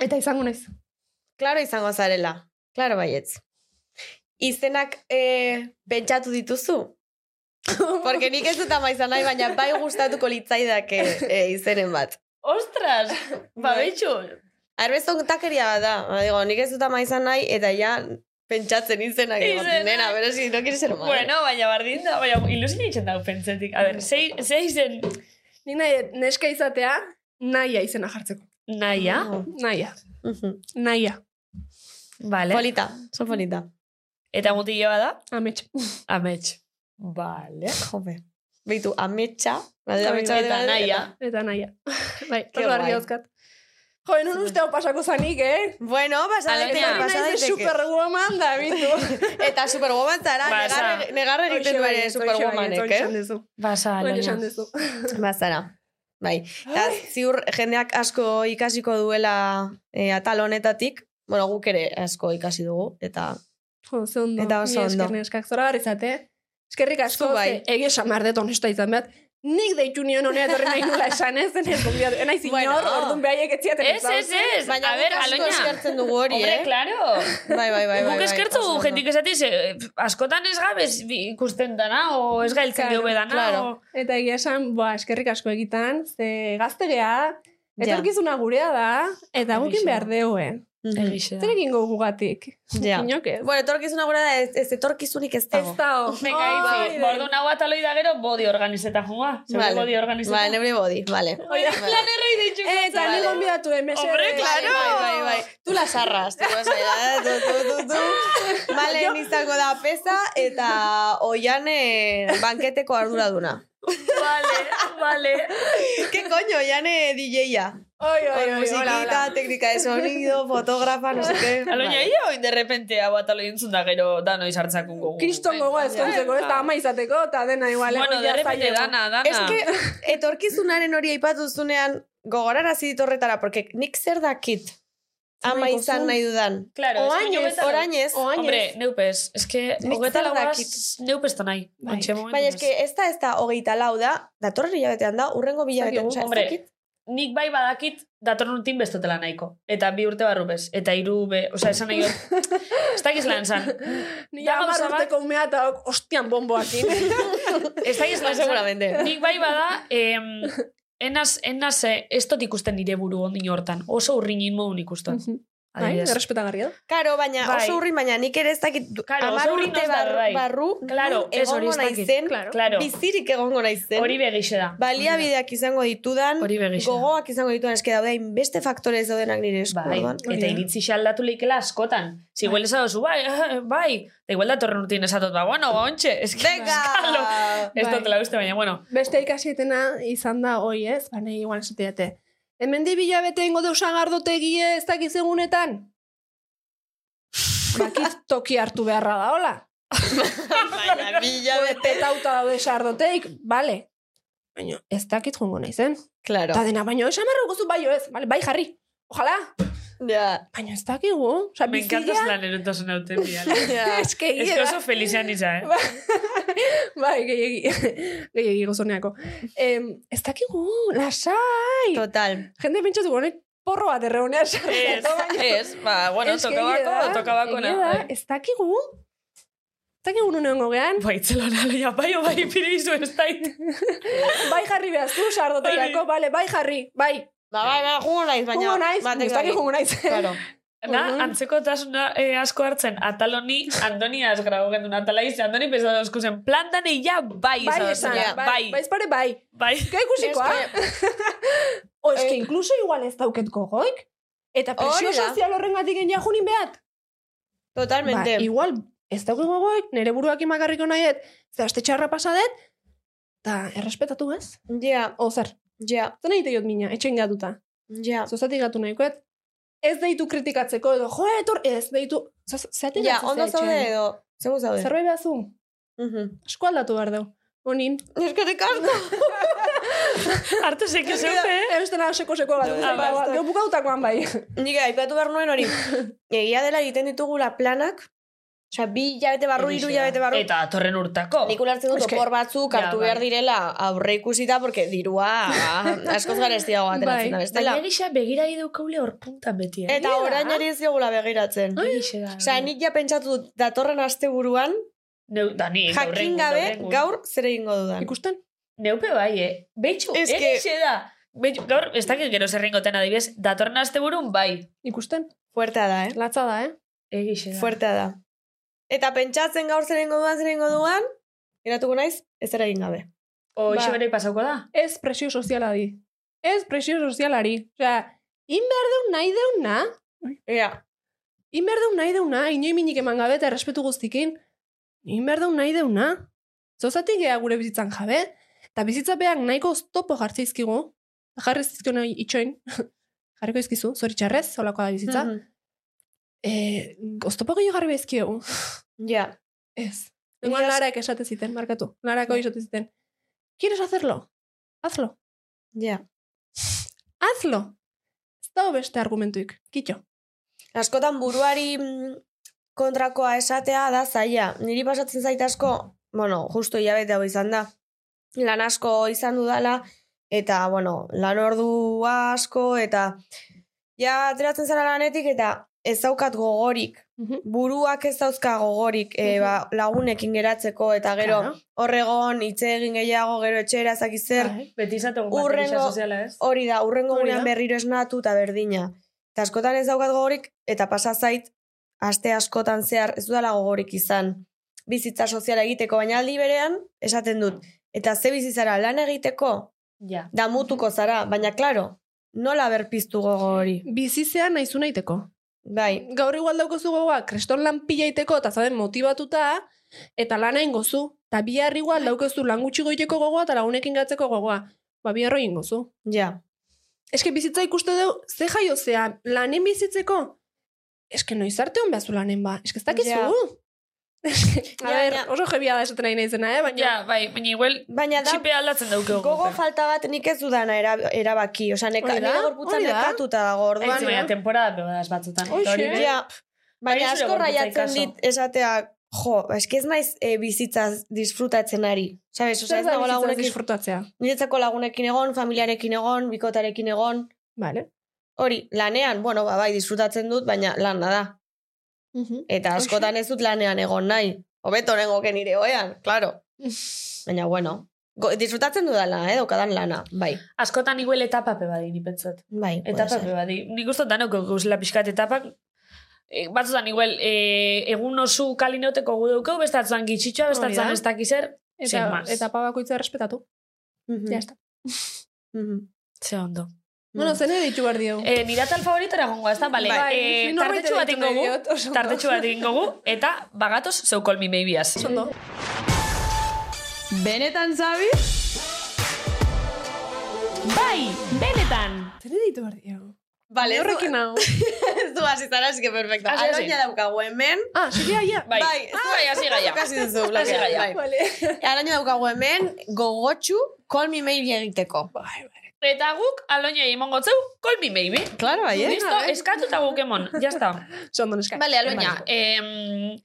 Eta izango naiz.
Klaro izango zarela. Klaro baietz. Izenak eh, pentsatu dituzu? Porque nik ez dut ama izan nahi, baina bai gustatuko litzaidak eh, izenen bat.
Ostras! Ba, betxu!
Bai.
Arbez ontakeria bat da. Ba, Digo, nik ez dut ama izan nahi, eta ja pentsatzen izenak. Digo,
Izenak.
Nena, pero si no quieres ser madre.
Bueno, baina bardin da, baina ilusin egiten dago pentsetik. A ber, zei, zei zen
Ni nahi dut neska izatea, nahia izena jartzeko.
naia,
Nahia.
Mhm.
Nahia.
vale.
Polita, son polita.
Eta mutila da,
Amets.
amets. Vale.
Jope. Beitu, ametsa. Badira
Oi,
ametsa bat
eta
dela-
naia.
Eta naia. bai,
Ke
oso argi
guai.
dauzkat. Jo, nun uste hau pasako zanik, eh?
Bueno, pasa
Alaina,
daiteke,
Hori
pasa
naiz de
daiteke.
superwoman da, bitu.
Eta superwoman zara,
Pasa.
negarre, negarre egiten du
bai,
ere superwomanek, eh?
Basa,
Hori esan
aloia.
duzu.
Bazara. Bai. Eta ziur jendeak asko ikasiko duela eh, atal honetatik. Bueno, guk ere asko ikasi dugu. Eta
Jo, ze ondo.
Eta oso
Mila esker,
ondo.
neskak zora barri zate. Eskerrik asko,
Zu bai.
bai. ege esan behar dut honesta izan behar. Nik deitu nion honea etorri nahi nula esan ez, zen ez gombiatu. Enaiz inor,
Bueno.
orduan behaiek etziaten
Ez, ez, ez!
Baina
A
guk
ber,
asko
aloina.
eskertzen dugu hori,
Hombre,
eh?
claro!
Bai, bai, bai. bai,
Guk
bai,
eskertzu
oso
du
ondo.
jendik esatiz, eh, askotan ez gabez bi- ikusten dana, o ez gailtzen
Claro,
dugu dana,
claro.
o...
Eta egia esan, ba, eskerrik asko egitan, ze gazte geha,
Ja.
etorkizuna gurea da, eta gukin
Egixe.
behar deuen.
mm.
Mhm.
Egixe da.
Zer egingo gugatik?
Ja.
Inok ez.
Bueno, etorkizuna gura da, ez, ez etorkizunik ez dago.
dao.
Venga, oh, itzi, bordu nahu ataloi da gero bodi organizeta joa. Zeure
bai. Vale.
bodi organizeta.
Ba, nebre body, vale. Vale.
Eta ni gonbidatu, eh, mesedez.
Hombre,
Claro. Bai, bai, bai. Tú las arras. Tú vas allá, tú, tú, tú, tú. Malen izango da pesa eta oian banketeko arduraduna.
Vale, vale.
¿Qué coño? Oian DJ-a.
Oi, oi,
Con
oi, hola,
musiquita,
hola.
técnica de sonido, fotógrafa, no sé qué.
Aloina
Vale.
ia, oin derrepente hau ataloi entzun da gero dano izartzakun gogu.
Kriston gogoa ezkontzeko, ez da ama izateko, eta dena igual.
Eh,
eh,
Bueno,
egoia
derrepente
zailego.
dana, dana.
Es que etorkizunaren hori aipatu zunean gogorarazi dit horretara, porque nik zer dakit ama
nahiko
izan
zuen?
nahi dudan.
Claro, es que
Oainez,
hogetan-
orainez.
Oainez.
Hombre, neupez. Es que
Nik
hogeta
zer
lauaz
dakit.
neupez da nahi.
Bai.
Ontxe momentu.
Baina eske ez da ez da hogeita lau da, datorren hilabetean da, urrengo bilabetean,
Dakigu,
osea, ez
hombre.
dakit.
Nik bai badakit datorren urtin bestotela nahiko. Eta bi urte barrupez. Eta hiru be... Osa, esan nahi dut. Ez dakiz lan zan.
Ni
Da
ja hamar
gauza bat-
urteko umea eta ok, ostian bomboakin.
Ez dakiz lan zan.
seguramente.
Nik bai bada, em, enaz, enaz, eh, ez dut ikusten nire buru ondino hortan. Oso urrinin modun ikusten.
Bai,
Adibidez.
errespetagarria da.
Karo, baina
Bai.
oso urrin, baina nik ere ez dakit du-
Claro, oso
hamar
urrin
urte
ez da,
barru,
bai.
barru
Claro,
non
ez hori
egongo
ez dakit.
naizen,
Claro. Claro.
bizirik egongo naizen,
Hori begixe da.
baliabideak izango ditudan,
Hori begixe da.
gogoak izango ditudan, eske daude beste faktore ez daudenak nire esku.
Bai,
orduan.
eta iritzi xaldatu leikela askotan. Si igual esadozu, bai, eh, bai. Da igual datorren urtin esatot, ba, bueno, ba, ontxe. Ez que, eskalo.
Venga!
Ez
Bai.
dut la uste, baina, bueno.
Beste ikasietena izan da, oi ez, baina igual esateate. Hemen di bilabete ingo deu sagardotegi eh? ez dakiz egunetan? Bakit toki hartu beharra da, hola?
Baina, bilabete.
Petauta daude sardoteik, bale. Baina, ez dakit jongo naizen.
Claro.
Eta dena, baina esan behar dugu zu bai o ez, bale, bai jarri. Ojalá,
Ja,
baina ez dakigu. Osa,
Me encantas
bizia,
lan erotasun hauten biala.
ja.
ez que
Ez
egia
que
da.
oso felizean izan, eh?
Ba, Bai, gehiagi, gehiagi gozoneako. Em, ez dakigu, lasai.
Total.
Jende pentsatuko honek porro bat erreunea
Ez,
sartu.
ez, ba, bueno,
Ez que egia
tokabako,
da,
tokabako bai.
egia
na.
da, Ez dakigu. Ez dakigu nun egongo gean.
Baitzelona loia, bai, o bai, pirizu ez dait.
Bai jarri behaztu sardotegiako, bale, bai jarri, bai.
Ba, bai, bai, jungo naiz, baina...
Jungo naiz,
batek
ez dakik
daki.
jungo naiz.
Claro.
Na,
Orduan.
antzeko tasuna eh, asko hartzen, ataloni, Andoniaz grau gendun atala izan, Andoni pesado eskuzen, plantan eia bai
Bai,
izan,
esan,
zela,
bai, bai, ez pare bai.
bai,
Gai ikusikoa. o,
eh,
eske, inkluso igual ez dauket gogoik. Eta presio
Hori da.
sozial horren gatik genia junin behat.
Totalmente.
Ba, igual, ez dauket gogoik, nire buruak imakarriko nahiet, ze aste txarra pasadet, eta errespetatu ez?
Ja,
O, zer,
ja,
zen egite jot mina, etxein gatuta.
ja.
Zozatik gatu nahikoet. Ez deitu kritikatzeko edo, jo, etor, ez deitu... Zoz- Zatik
Ja,
gatzea
ondo
etxean.
zaude edo, zego zaude.
Zerbait behazu,
Mhm.
asko aldatu behar dau. Honin.
Eskerrik asko.
hartu
Bai,
zeke zeupe, eh?
Ez dela seko-seko bat. Ba,
Ah,
ba,
basta.
Geu bukautakoan bai.
Nik aipatu behar nuen hori. Egia dela egiten ditugula planak, Osea, bi hilabete barru, hiru hilabete barru.
Eta torren urtako.
Nik ulertzen dut
Eske-
opor batzuk
Ja,
hartu
bai.
behar direla aurre ikusita, porque dirua askoz garestiago
Bai.
ateratzen da bestela.
Baina gisa begira idaukaule horpuntan beti, eh?
Eta
Egia da.
orain ari ez diogula begiratzen.
Egixe da.
Osea, nik ja pentsatu dut datorren asteburuan
Neu, da, ni,
jakin
gaurrengun,
gabe
gaurrengun.
gaur zer egingo dudan.
Ikusten?
Neupe bai, eh? Beitxu,
Ez
egixe
que-
da. Beitxu, gaur, ez dakit gero zerrengoten adibidez, datorren aste burun bai.
Ikusten?
Fuertea da, eh?
Latza da, eh?
Egixe da.
Fuertea da. Eta pentsatzen gaur zer egingo dudan, zer egingo dudan, geratuko naiz, ez zer egin gabe.
O,
Ba.
ba. pasauko da?
Ez presio soziala di. Ez presio sozialari. Osea, in behar deun nahi deuna,
Ja,
in behar deun nahi deuna, inoi minik eman gabe eta errespetu guztikin, in behar deun nahi deuna. Zozatik gea gure bizitzan jabe, eta bizitzapeak nahiko oztopo jartzi izkigu, jarri zizkio nahi itxoin, jarriko izkizu, zoritxarrez, holakoa da bizitza.
mhm.
e, oztopo gehiago jarri behizkiegu.
ja.
Ez. Igual Larak esate ziten, markatu. Larako esate ziten. ¿Quieres hacerlo? Hazlo.
Ja.
Hazlo. Ez dago beste argumentuik. Kitxo.
Askotan buruari mm, kontrakoa esatea da zaila. Niri pasatzen zait asko, bueno, justo hilabete hau izan da. Lan asko izan dudala, eta, bueno, lan ordu asko, eta ja ateratzen zara lanetik, eta ez daukat gogorik.
Mhm.
Buruak ez dauzka gogorik e, ba, lagunekin geratzeko, eta gero
Claro.
horregon hitze egin gehiago, gero etxera, zakizer,
Bai.
Beti izateko
Hurrengo-
gisa soziala, ez?
Hori da, urrengo
Hori da.
gunean berriro esnatu eta berdina. Eta askotan ez daukat gogorik, eta pasa zait, aste askotan zehar ez dudala gogorik izan. Bizitza soziala egiteko, baina aldi berean, esaten dut. Eta ze bizitzara lan egiteko,
Ja.
damutuko zara, baina klaro, nola berpiztu gogo hori.
Bizizean naizu nahiteko.
Bai,
Gaur igual daukozu gogoa, kreston lan pila iteko, eta zaden motibatuta, eta lana ingozu. Eta bihar igual daukozu lan gutxi goiteko gogoa, eta lagunekin gatzeko gogoa. Ba, biharro ingozu.
ja,
Eske bizitza ikuste dugu, ze jaio zea, lanen bizitzeko? Eske noiz arte hon behazu lanen ba, eske ez dakizu.
Ja.
Eske, a
Ja,
ber,
ja.
oso jebia da esaten nahi naizena, eh? baina
Ja, bai, baina igual
baina da,
txipe aldatzen dauke
gogo falta bat nik ez dudana era- erabaki. Osa, neka,
bai. Hori da,
nire gorputza
hori da.
nekatuta dago, orduan.
Aitzi, baina temporada pebadaz batzutan. Eta hori
Hoxe.
be-
Ja, baina
Baina zure
asko
gorputzari
raiatzen
kaso.
dit esatea, jo, eski ez naiz e, bizitzaz disfrutatzen ari. Sabes, oza,
zer
ez
da
nago
bizitzaz
lagunekin,
disfrutatzea.
niretzako lagunekin egon, familiarekin egon, bikotarekin egon,
Vale.
hori, lanean, bueno, ba, bai, disfrutatzen dut, baina lana da. Eta askotan ez dut lanean egon nahi. Hobeto nengoke nire oean, claro. Baina, bueno, go, disfrutatzen dudala, eh, daukadan lana, bai.
Askotan igual etapa pebadi, ni pentsat.
Bai, puede
Etapa
ser.
pebadi. Nik uste dut danok gauzela pixkat etapak. E, batzutan igual, e, egun oso kalinoteko gu daukau, bestatzen gitxitxoa,
Hori da.
bestatzen ez dakizer. Sin
Eta,
más. Mm.
eta bakoitza respetatu.
Mhm,
Ja, está.
mhm.
Ze ondo.
Bueno, zen ere ditu behar diogu.
E, nire atal favoritora gongo, ez da? Bale,
Bai,
eh,
ni norbait
tartetxu bat
deitu nahi
ingogu,
diot, oso ondo.
tartetxu bat ingogu, eta bagatoz zeukolmi meibiaz.
Ondo.
Benetan, Zabi? Bai, benetan!
Zer ere ditu behar diogu.
Vale, ez
Horrekin
du,
hau.
ez du hasi zara, eski perfecto.
Hasi, hasi.
Aroina daukagu hemen,
Ah, segia, ja.
Bai,
Bai.
zu bai, hasi gaia.
Kasi duzu,
Hasi gaia.
blakea. Bai.
Vale.
Araño daukagu hemen, gogotxu, call me maybe egiteko.
Bai, bai.
Eta guk aloina emango zeu, call me maybe.
Claro, bai, eh?
Listo, eskatu eta guk emon, Bai. jazta.
Sondo neska.
Bale, aloina, em...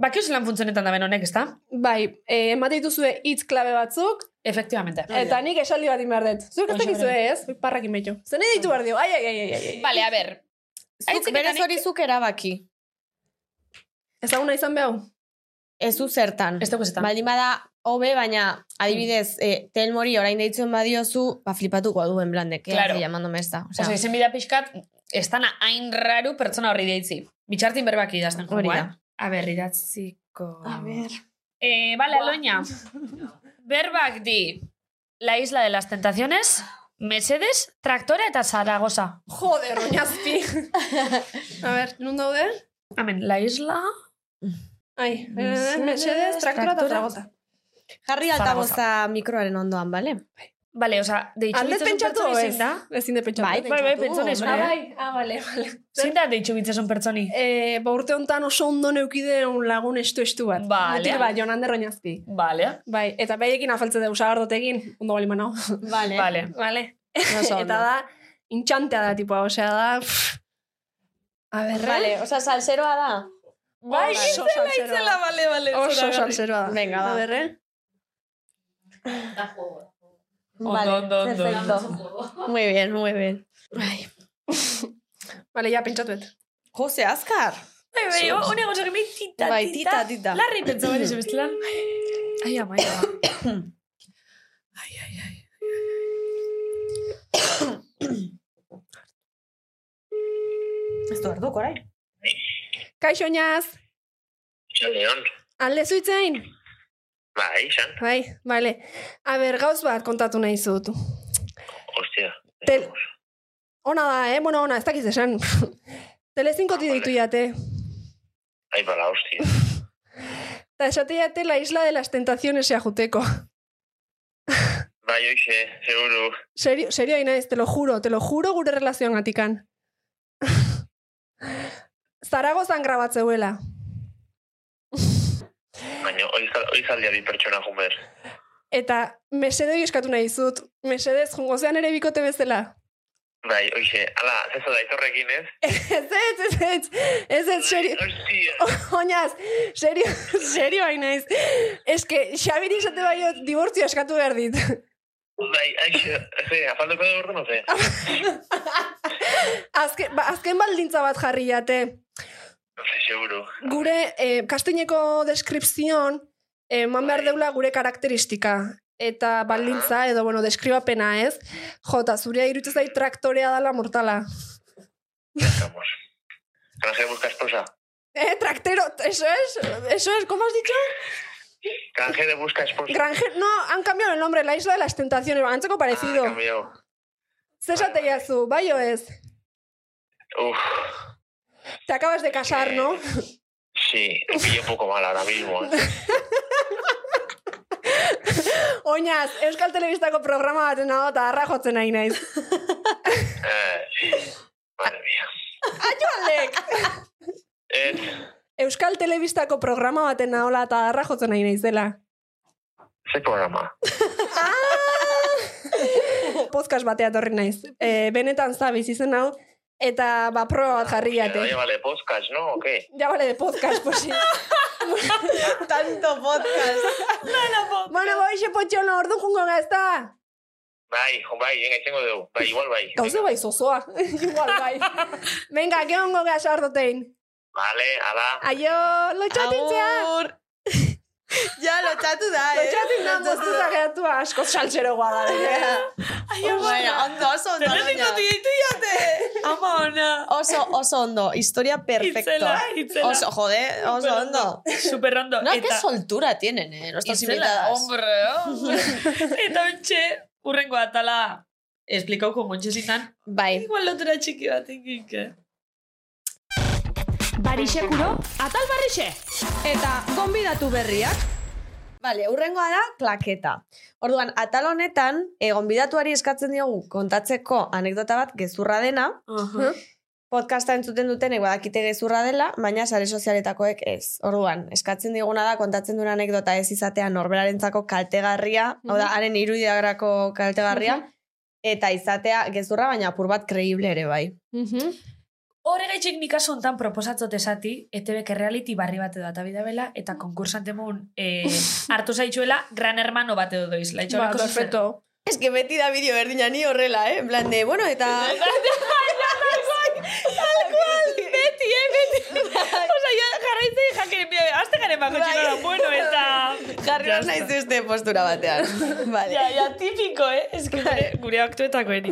Bakioz lan funtzionetan da benonek, ez da?
Bai, eh, emate dituzue hitz klabe batzuk,
Efectivamente.
Eta nik esaldi bat inbehar dut. Zuek ez
Ah, Oso
dakizu ez? Zuek Parrak inbeitu. Zene ditu behar dio. Ai, ai, ai, ai, ai.
Bale, a ber.
Zuk
Aitzik
berez
eta nik-
hori zuk erabaki.
Ezaguna izan behau.
Ez zu zertan.
Ez dugu zetan.
Baldin bada, hobe, baina adibidez, eh, telmori orain deitzen badiozu, ba flipatuko duen blandek, eh,
Claro.
claro. llamándome esta. O sea,
Osa, izen bida pixkat, ez dana hain raru pertsona horri deitzi. Bitxartin berbak idazten
Hori da.
jokoa. A ber, idatziko...
A ber.
Eh, vale, Aloña. Berbak di La Isla de las Tentaciones, Mesedes, Traktora eta Zaragoza.
Joder, oinazpi. A ber, nun daude?
Amen, La Isla...
Ai, eh,
Mesedez,
mesedez, traktora eta
traktora.
tragoza.
Jarri altaboza mikroaren ondoan, bale?
Vale, oza, deitxu
Alde
bitzasun
pentsatu
pertsoni
ez.
zein da?
Ezin de pentsatu.
Bai,
Bai, bai, pertsona
Ah,
izan,
bai, ah, bale, bale.
Zein da deitxu bitzasun pertsoni?
Eh, ba urte honetan oso ondo neukide un lagun estu-estu bat.
Bale.
Mutil bat, Jon Ander Oñazpi.
Vale,
Bai, eta baiekin afaltze deu sagardotekin, ondo bali manau.
Vale.
vale.
Vale.
Oso ondo.
eta da, intxantea da, tipua, osea da... pff. A eh? ber,
Vale, oza, salseroa da.
Bai,
oso salseroa da.
vale, vale.
Oso salseroa da.
Venga,
A
ba.
ber, eh?
Ondo, ondo, ondo.
perfecto. Muy bien, muy bien.
Bai. Vale, ja, pentsatuet.
Jose, azkar.
Bai, bai, hone gozo gemei tita,
Bai, tita, tita.
Larri pentsa bat izan bestelan. Ai,
bai,
amai, ba. Ai, ai, ai.
Ez du hartuko, orain.
Kaixo, oinaz!
Txaldeon,
Alde zuitzein?
bai, izan,
Bai, bale. A ber, gauz bat kontatu nahi zut.
ostia.
Tel- Ona da, eh? Bueno, ona, ez dakiz esan. Telezinkoti ditu jate.
Ai, bala, ostia.
Eta esate jate la isla de las tentaciones ea juteko.
Bai, oixe, seguru.
Serio, serio hain naiz, te lo juro, te lo juro gure relazioan gatikan. Zaragozan grabatzeuela.
Baina, oizal- oizaldiari pertsona jumer.
Eta mesedoi eskatu nahi dizut. Mesedez, jungo zean ere bikote bezala.
Bai, oixe, ala, zezo da itorrekin, ez?
Ez ez, ez ez, ez ez, serio.
Ostia,
Oñaz, serio, serio hain naiz. Ez que, Xabiri esate baio dibortzio eskatu behar dit.
bai, aixe, ze, afalduko da orduan, oze?
Ah. Azken, ba, azken baldintza bat jarri jate.
Oze, seguru.
gure eh, kastineko deskripzion eh, eman behar deula gure karakteristika eta baldintza edo bueno deskribapena ez jota zurea irutzen zait traktorea dala mortala
Estamos. Kanajera busca esposa.
eh traktero eso es eso es cómo has dicho
Kanajera busca esposa.
granje no han cambiado el nombre la isla de las tentaciones antzeko parecido
Ah, cambiado.
zesate jazu bai o ez
Uf,
te acabas de casar no
sí, me pillo un poco mal ahora mismo. eh.
oñaz euskal telebistako programa baten dago eta harra jotzen nahi naiz
Eh, madre mía.
Alek!
Ez,
euskal telebistako programa baten nahola eta harra jotzen nahi naiz dela
ze programa.
podcast batea torri naiz. E, benetan zabiz izen hau, eta ba, proba bat jarri jate.
Oye, vale, podcast, ¿no? ¿O qué?
Ja bale de podcast, posi.
Tanto podcast.
bueno, boixe potxono, ordu jungo gazta.
Bai, jo, bai, venga, tengo dugu. Bai, igual bai.
Gauze bai zozoa. Igual bai. Venga, gehongo gaz ordotein.
Vale, ala.
Aio, lotxatintzea.
Agur. ja, lotxatu da, eh?
Lotxatin da,
Lotxatu
moztuta gehatua asko saltxero guada.
Bueno, ondo, oso ondo. Telezinkotu ditu
Ama ona.
Oso, oso ondo. Historia perfecto.
Itzela, itzela.
Oso, jode, oso ondo.
Super ondo.
No, qué soltura tienen, eh? Nuestras
Itzela,
invitadas.
hombre, hombre. Eta ontxe, urrengo atala esplikauko montxe zinan.
Bai.
Igual lotura txiki bat egin.
Barixe kuro, atal barixe.
Eta gonbidatu berriak. Bale, urrengoa da klaketa. Orduan, atal honetan, e, gonbidatuari eskatzen diogu kontatzeko anekdota bat gezurra dena. Podcasta entzuten dutenek badakite gezurra dela, baina sare sozialetakoek ez. Orduan, eskatzen diguna da kontatzen duen anekdota ez izatea norberarentzako kaltegarria, hau da, haren irudiagrako kaltegarria, eta izatea gezurra, baina apur bat kreible ere bai.
Mhm.
Horregaitxek nik kasu hontan proposatzot esati, ETBek reality barri bat edo atabida bela, eta konkursante mun eh, hartu zaitxuela gran hermano bat edo doiz. Laitxo
Ba,
horreko zuzen.
perfecto.
Ez que beti da bideo berdina ni horrela, eh? En plan de, bueno, eta...
Beti, eh, beti. Osa, ja, jarraitzen jakin, bia, azte garen bako
Bai.
txinora, bueno, eta...
Jarri hor naiz beste postura batean. Vale.
Ja, ja, tipiko, eh? Ez que gure, gure aktuetako eni.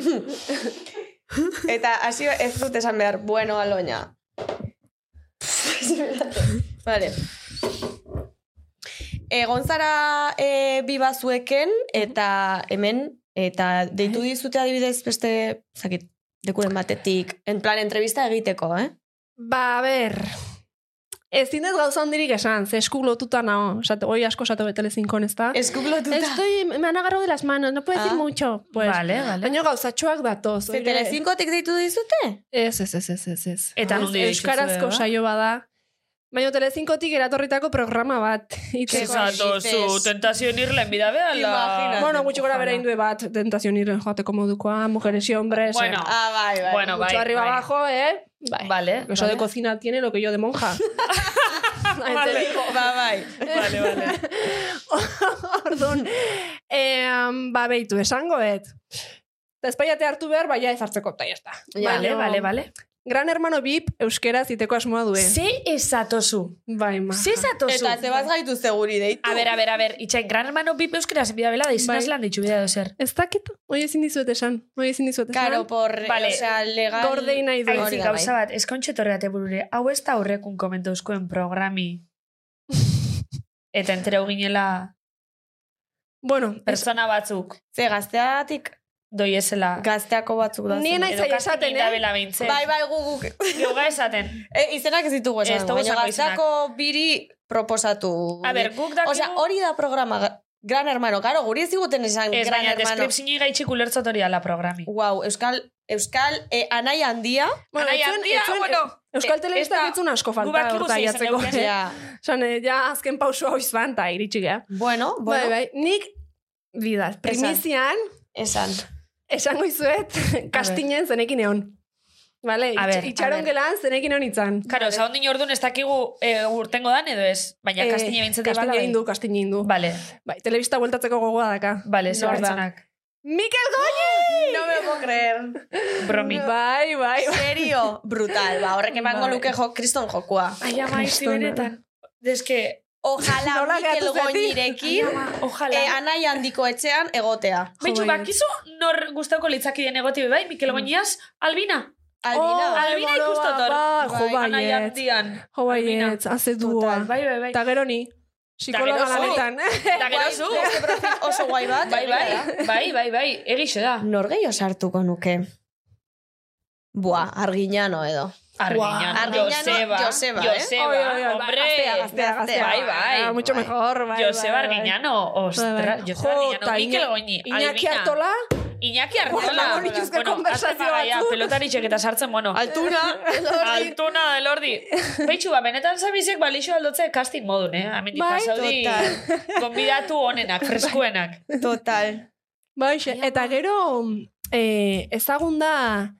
Eta hasi ez dut esan behar, bueno, aloña. vale. Egon zara e, bi bazueken, eta hemen, eta deitu dizute adibidez beste, zakit, dekuren batetik, en plan entrevista egiteko, eh?
Ba, a ber... Ez dindez gauza hondirik esan, ze esku lotuta nao. Esate, oi asko esate betele zinkon, ez da?
Eskuk lotuta.
Estoy, me han agarrado de las manos, no puedo decir
Ah.
mucho. Pues.
Vale, vale.
Baina gauzatxoak datoz.
Ze
oire.
telezinkotik deitu dizute?
Ez, ez, ez, ez, ez, ez.
Eta
Ez,
nondi dituzue,
Euskarazko
ba?
saio bada. Baina telezinkotik eratorritako programa bat.
Ez
Iteko.
zato, zu, tentazioen irla enbida
Imagina.
behala.
Bueno, gutxi gora bera indue bat, tentazion irren joateko modukoa, mujeres y hombres.
Bueno,
eh.
Ah, bai, bai.
Bueno,
Mucho
bai,
arriba
bai.
abajo, eh? Bai.
Vale,
Eso de cocina tiene lo que yo de monja. Ahí te
Vale.
digo.
Ba, bai.
Vale, vale.
Orduan, em, ba, beitu, esango et. Eta espaiate hartu behar, baia ez hartzeko, eta jazta.
Ja.
Vale, vale, vale.
Gran hermano bip, euskeraz iteko asmoa duen.
Ze ez zatozu?
Bai, ma.
Ze ez zatozu?
Eta ze bat gaitu seguri deitu.
A ber, a ber, a ber, itxain, gran hermano bip euskeraz enbida behala,
Bai.
izinaz lan ditxu bida dozer.
Ez dakit, hoi ezin dizuet esan, hoi ezin dizuet esan.
Karo, por,
Vale.
osea, legal...
Gordei nahi du.
Hori
Aizi,
da, bai.
gauza bat, eskontxe torreate burure, hau ez da aurrekun komentauzkoen programi. Eta entereu ginela
Bueno,
persona batzuk,
Ze gazteatik,
doi ezela.
gazteako batzuk da.
Ni
zen.
naiz
Edo
zaila
casting
esaten, eh?
irabela behintzen.
Bai, bai, gu guk.
Geuga esaten.
E, izenak ez ditugu
Ez
esan.
dugu
Baina
esango izenak.
gazteako biri proposatu.
A ber, guk dakigu...
Osea, hori da programa. ga- Gran hermano. Karo, guri ez diguten esan
Ez,
gran
baina
hermano.
deskripzini gaitxik ulertzot hori ala programi.
Wow, Euskal, Euskal eh, anai handia.
bueno,
Anai
etzuen-
handia,
etzuen-
bueno,
Euskal
e-
Telebistak
esta-
ez zuen asko
gu
falta
bakigu
horta
zein izan
jatzeko.
geneuken.
eh?
Ja.
Esan, eh, ja azken pausua hoiz ban, eta iritsi geha.
Bueno,
Bai,
bueno,
bai, nik bidaz, primizian,
esan.
esango izuet, kastinen zenekin eon. Vale,
A ber,
itx- itxaron
a ber.
gelan zenekin eon itzan.
Karo, oza, ondin orduan ez dakigu eh, urtengo dan edo ez, baina
Eh,
eh, kastina bintzete bala.
Kastina egin du, kastina egin du.
Vale,
Bai, telebista bueltatzeko gogoa daka.
Ba- vale, ze
Nor da?
pertsonak.
Mikel Goñi!
No me puedo creer.
Bromi.
Bai, bai, bai.
Serio, brutal. Ba, horrek emango
Bai.
luke jo, kriston jokua.
Ai, ama, izi
Kristona.
benetan. Deske,
Ojalá
Nola
Mikel
gatu zati?
Goñirekin
ojalá.
eh, anai handiko etxean egotea.
Betxu,
Jo,
bakizu nor gustauko litzakideen egoti bai, Mikel
Mm.
Goñiaz, Albina.
Albina.
Oh, Albina
Alboroa,
ikustotor.
Ba, jo
Bai,
Ana
baiet.
jantian.
Jo baiet, haze duoa.
Total, bai, bai, bai.
Eta gero ni,
gero
psikologa
zu.
lanetan.
Eta gero zu.
Guai, beste profil oso guai bat.
Bai, bai, bai, bai, bai, egixe da.
Norgeio sartuko nuke. Bua, arginano edo.
Arguiñano,
Arguiñano,
Joseba.
Joseba, eh?
Joseba,
Oi, oi, oi,
hombre.
bai, Gaztea, gaztea, gaztea.
Bai, bai.
Ah, mucho
bai.
mejor, bai, bai.
Joseba
bai.
Arguiñano,
Bai,
ostras,
bai.
Joseba
Jo,
Arguiñano,
ta
Mikel
Iña-
Goñi,
Iñaki
Albina.
Artola,
Iñaki
Guarda,
Artola.
bonituzko
Bueno,
konversazio
azte bagaia,
batzu.
pelotaritzek eta sartzen, bueno.
Altura.
Altuna da elordi. Beitxu, ba, benetan zabizek balixo aldotze casting modun, eh? Amendik
Bai,
pasaudi, konbidatu onenak, freskuenak.
Total.
Bai, xe,
ba.
eta gero eh, ezagun da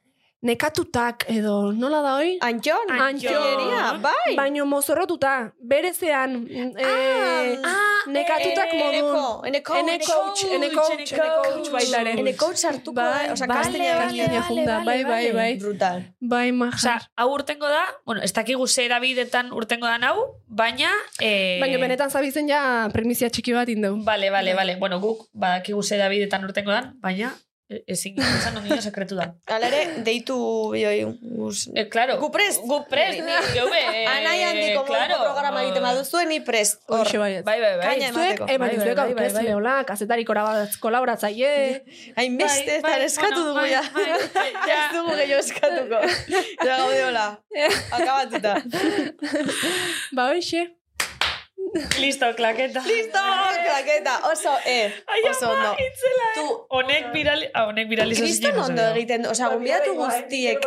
nekatutak edo nola da hoi?
Antxon?
Antxon.
Antxoneria, bai.
Baino mozorrotuta, berezean eh,
Ah,
nekatutak
eh,
modun.
eneko, eneko,
Bai. Ene coach, ene coach, ene coach baita ere.
Ene coach sartuko,
Bai,
eh? Osea, kastila
vale,
egin.
vale, junda, bai, bai, bai.
Brutal.
Bai,
Osa,
maja.
hau urtengo da, bueno, ez dakigu ze erabidetan urtengo da nau, baina... Eh,
Baina benetan zabizen ja premizia txiki bat indeu.
Bale, bale, bale. Bueno, guk badakigu ze Davidetan urtengo dan, baina e- ezin esan ondino sekretu da.
Hala ere, deitu bioi. guz-
E, claro.
Gu prest.
Gu prest, ni geube. eh,
Anai handiko moduko programa egiten baduzue, ni prest. Hor.
Hoxe baiet.
Bai, bai, bai.
Kaina
Zuek,
emateko.
eh, baina
Bai,
zuek
bai, bai,
aurkezle
bai.
hola, kazetari korabaz- kolaboratzaile.
Hainbeste,
Bai,
eta
bai,
eskatu
bueno,
dugu
bai,
ja.
bai, bai, ja.
Ez dugu gehiago eskatuko. Ja gaude hola. Akabatuta.
Ba, hoxe.
Listo, klaketa.
Listo, klaketa. Oso, eh.
Ai,
Oso
ama,
ondo.
itzela.
Tu,
Honek virali... Ah, honek virali
kriston ondo egiten, osea,
Bai,
gombidatu
Bai,
guztiek,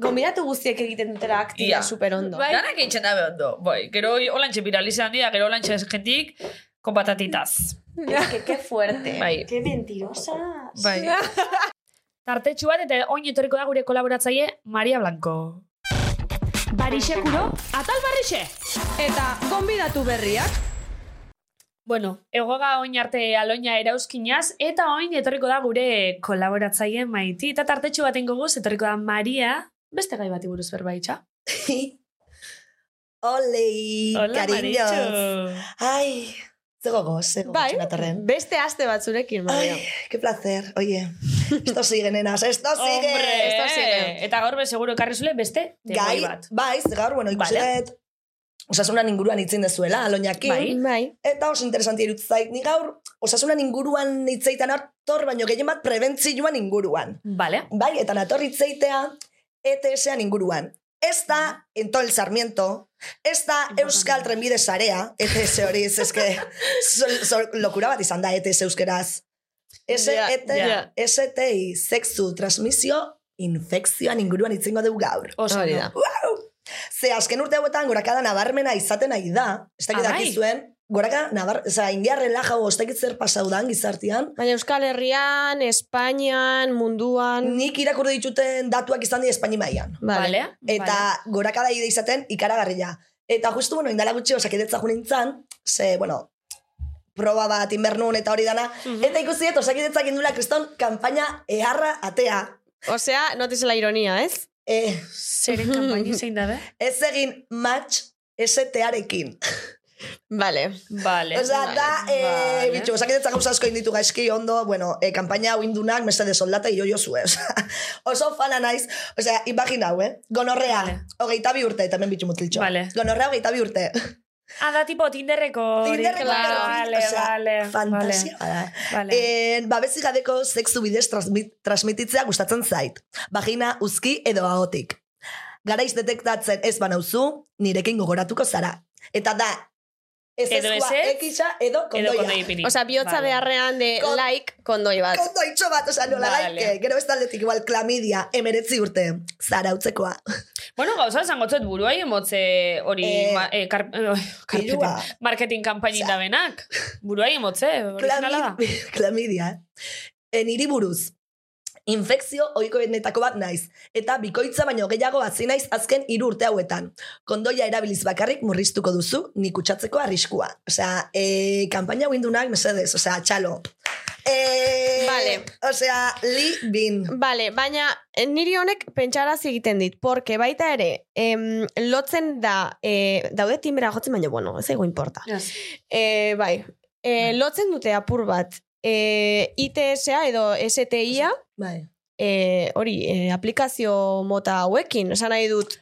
gombidatu guztiek egiten dutela aktia
Ia.
super ondo.
Bai. Danak egiten dabe ondo. Bai, gero olantxe viralize handia, gero olantxe jentik, con patatitas.
Que, que fuerte.
Bai.
Que mentirosa.
Bai. Tartetxu bat eta oin etorriko da gure kolaboratzaile Maria Blanco.
Barixe kuro, atal barrixe.
Eta gombidatu berriak.
Bueno, egoga oin arte aloina erauzkinaz, eta oin etorriko da gure kolaboratzaile maiti. Eta tartetxu baten goguz, etorriko da Maria, beste gai bati buruz berbaitxa.
Ole, cariños.
Maritxu.
Ay, Ze gogoz, ze gogoz,
Bai,
natorren.
beste aste batzurekin, Mario.
Ay, qué placer. Oye, esto sigue, nenas, esto sigue.
Hombre,
esto sigue.
eta gaur be seguro ekarri zule beste
Gai,
gai bat.
baiz, gaur, bueno, ikusi
Vale.
dut, osasunan inguruan itzin dezuela, aloñakin.
Bai.
Bai.
Eta oso interesanti irut zait, ni gaur, osasunan inguruan itzeitan hartor, baino gehien bat prebentzioan inguruan.
Vale.
Bai, eta nator itzeitea, ETS-an inguruan. Ez da, ento el Sarmiento, ez da Euskal Trenbide Sarea, ETS hori, ez eske, sol- sol- lokura bat izan da ETS euskeraz. Ese, E
Ja,
ete,
ja.
STI, sexu, transmisio, infekzioan inguruan itzingo dugu gaur.
Oso
Hori
ondo.
da.
Ze azken urte hauetan gorakada nabarmena izaten ari da. Ez dakit
Ah, bai.
dakizuen, goraka nabar, oza, indiarren lajau, ez dakit zer pasaudan gizartian.
Baina Euskal Herrian, Espainian, munduan...
Nik irakurri dituten datuak izan di Espaini mailan.
Vale.
Eta gorakada ide izaten ikaragarria. Eta justu, bueno, indala gutxi osakidetza jo nintzen, ze, bueno, proba bat inbernun eta hori dana.
Mhm.
Eta ikusi dut osakidetzak indula kriston kanpaina eharra atea.
Osea, notiz la ironia, ez?
Eh,
Zeren kanpaini zein da, be?
ez egin match ST-arekin.
Vale.
Vale.
Osa, da, eh,
Vale.
bitxo, osakidetza gauza asko inditu gaizki, ondo, bueno, eh, kampaina hau indunak, mesede soldata, ilo jozu, eh? Osea, Oso fana naiz, osea, imagina hau, eh? Gonorrea,
Vale.
hogeita bi urte, eta hemen bitxo mutiltxo.
Vale.
Gonorrea hogeita bi urte.
Ah, da tipo Tinderreko. hori.
Tinderreko
Vale,
perfil,
vale,
osea,
vale.
Fantasia bada.
Vale.
Eh, babesi gabeko sexu bidez transmit, transmititzea gustatzen zait. Bagina uzki edo ahotik. Garaiz detektatzen ez banauzu, nirekin gogoratuko zara. Eta da, ez
Edo
ezkoa
ez ez,
ekisa edo
Edo
kondoia.
kondoi ipini.
Osea, bihotza
Vale.
beharrean de
Kon-
like kondoi bat.
Kondoitxo bat, oza, nola
Vale.
laike. Gero ez taldetik, igual, klamidia, emeretzi urte. Zara utzekoa.
Bueno, gauza esango zuet buruai emotze hori
Eh,
ma- eh, kar, eh, karpetin-
Irua.
marketing kanpainin da benak. Buruai emotze, originala da.
Klami- Klamidia. E, niri buruz. Infekzio ohikoenetako bat naiz, eta bikoitza baino gehiago hazi naiz azken hiru urte hauetan. Kondoia erabiliz bakarrik murriztuko duzu, nik kutsatzeko arriskua. Osea, e, kampaina windunak, mesedez, osea, txalo. E,
Vale.
Osea, li bin.
Vale, baina eh, niri honek pentsaraz egiten dit, porque baita ere, em, lotzen da, eh, daude timbera jotzen, baina, bueno, ez ego importa. Eh, bai, eh, lotzen dute apur bat, eh, ITSA edo STIA,
Bai.
eh, hori, eh, aplikazio mota hauekin, esan nahi dut.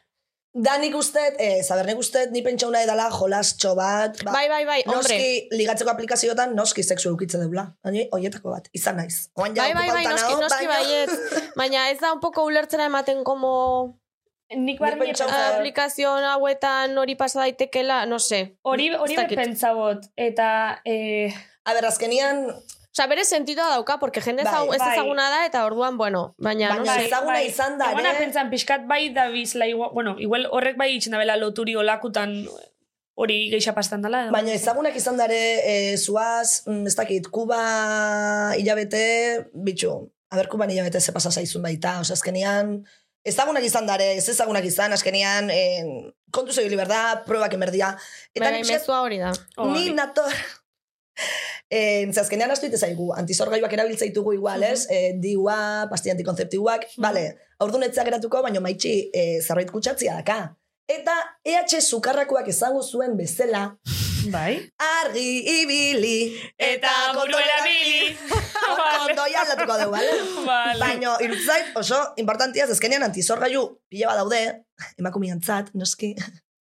Da nik ustet, ez, aber nik ustet, ni pentsauna edala jolastxo bat. ba-
Bai, bai, bai, hombre.
Noski, ligatzeko aplikazioetan, noski sexu eukitzen deula. Hani, hoietako bat, izan naiz. Oan ja,
Bai, bai, bai,
okupauta
noski,
nago,
noski
baina-
baiet. Baina ez da un poco ulertzera ematen como
Nik
barne-
barri
pentsau-
eh, aplikazio hauetan hori pasa daitekela, no se.
hori hori
Ez dakit.
pentsabot eta eh,
A ber, azkenian,
Osa, bere sentidoa dauka, porque jende
Bai,
ezau- ez
bai.
ezaguna da, eta orduan, bueno, baina...
Baina-
no
Bai,
sé.
ezaguna izan da, eh?
Egonak
ere.
pentsan pixkat bai da bizla, igua- bueno, igual horrek bai itxena bela loturi olakutan hori geixa pastan dela. edo?
baina ezagunak izan dare e, zuaz, mm, ez dakit, Kuba hilabete, bitxu, a ber, Kuban hilabete ze pasa zaizun baita, oza, azkenian, ezagunak izan dare, ez ezagunak izan, azkenian, en, kontu zegoili berda, probak emerdia, eta
Baina
nik uste-
mezua hori da.
Ni
Hori.
nator... Eh, ze azkenean astu ite zaigu, antizorgailuak erabiltza ditugu igual, ez? Eh, diua, pastilla antikonzeptiboak, bale, aurdun etzea geratuko, baino maitxi eh, zerbait kutsatzia daka. Eta EH sukarrakoak ezagu zuen bezala,
Bai.
argi ibili, kondoia erabili. Kondoia aldatuko dugu, bale?
Vale.
Baina, irutzait, oso importantia, ze azkenean antizorgailu pila bat daude, emakumiantzat, noski.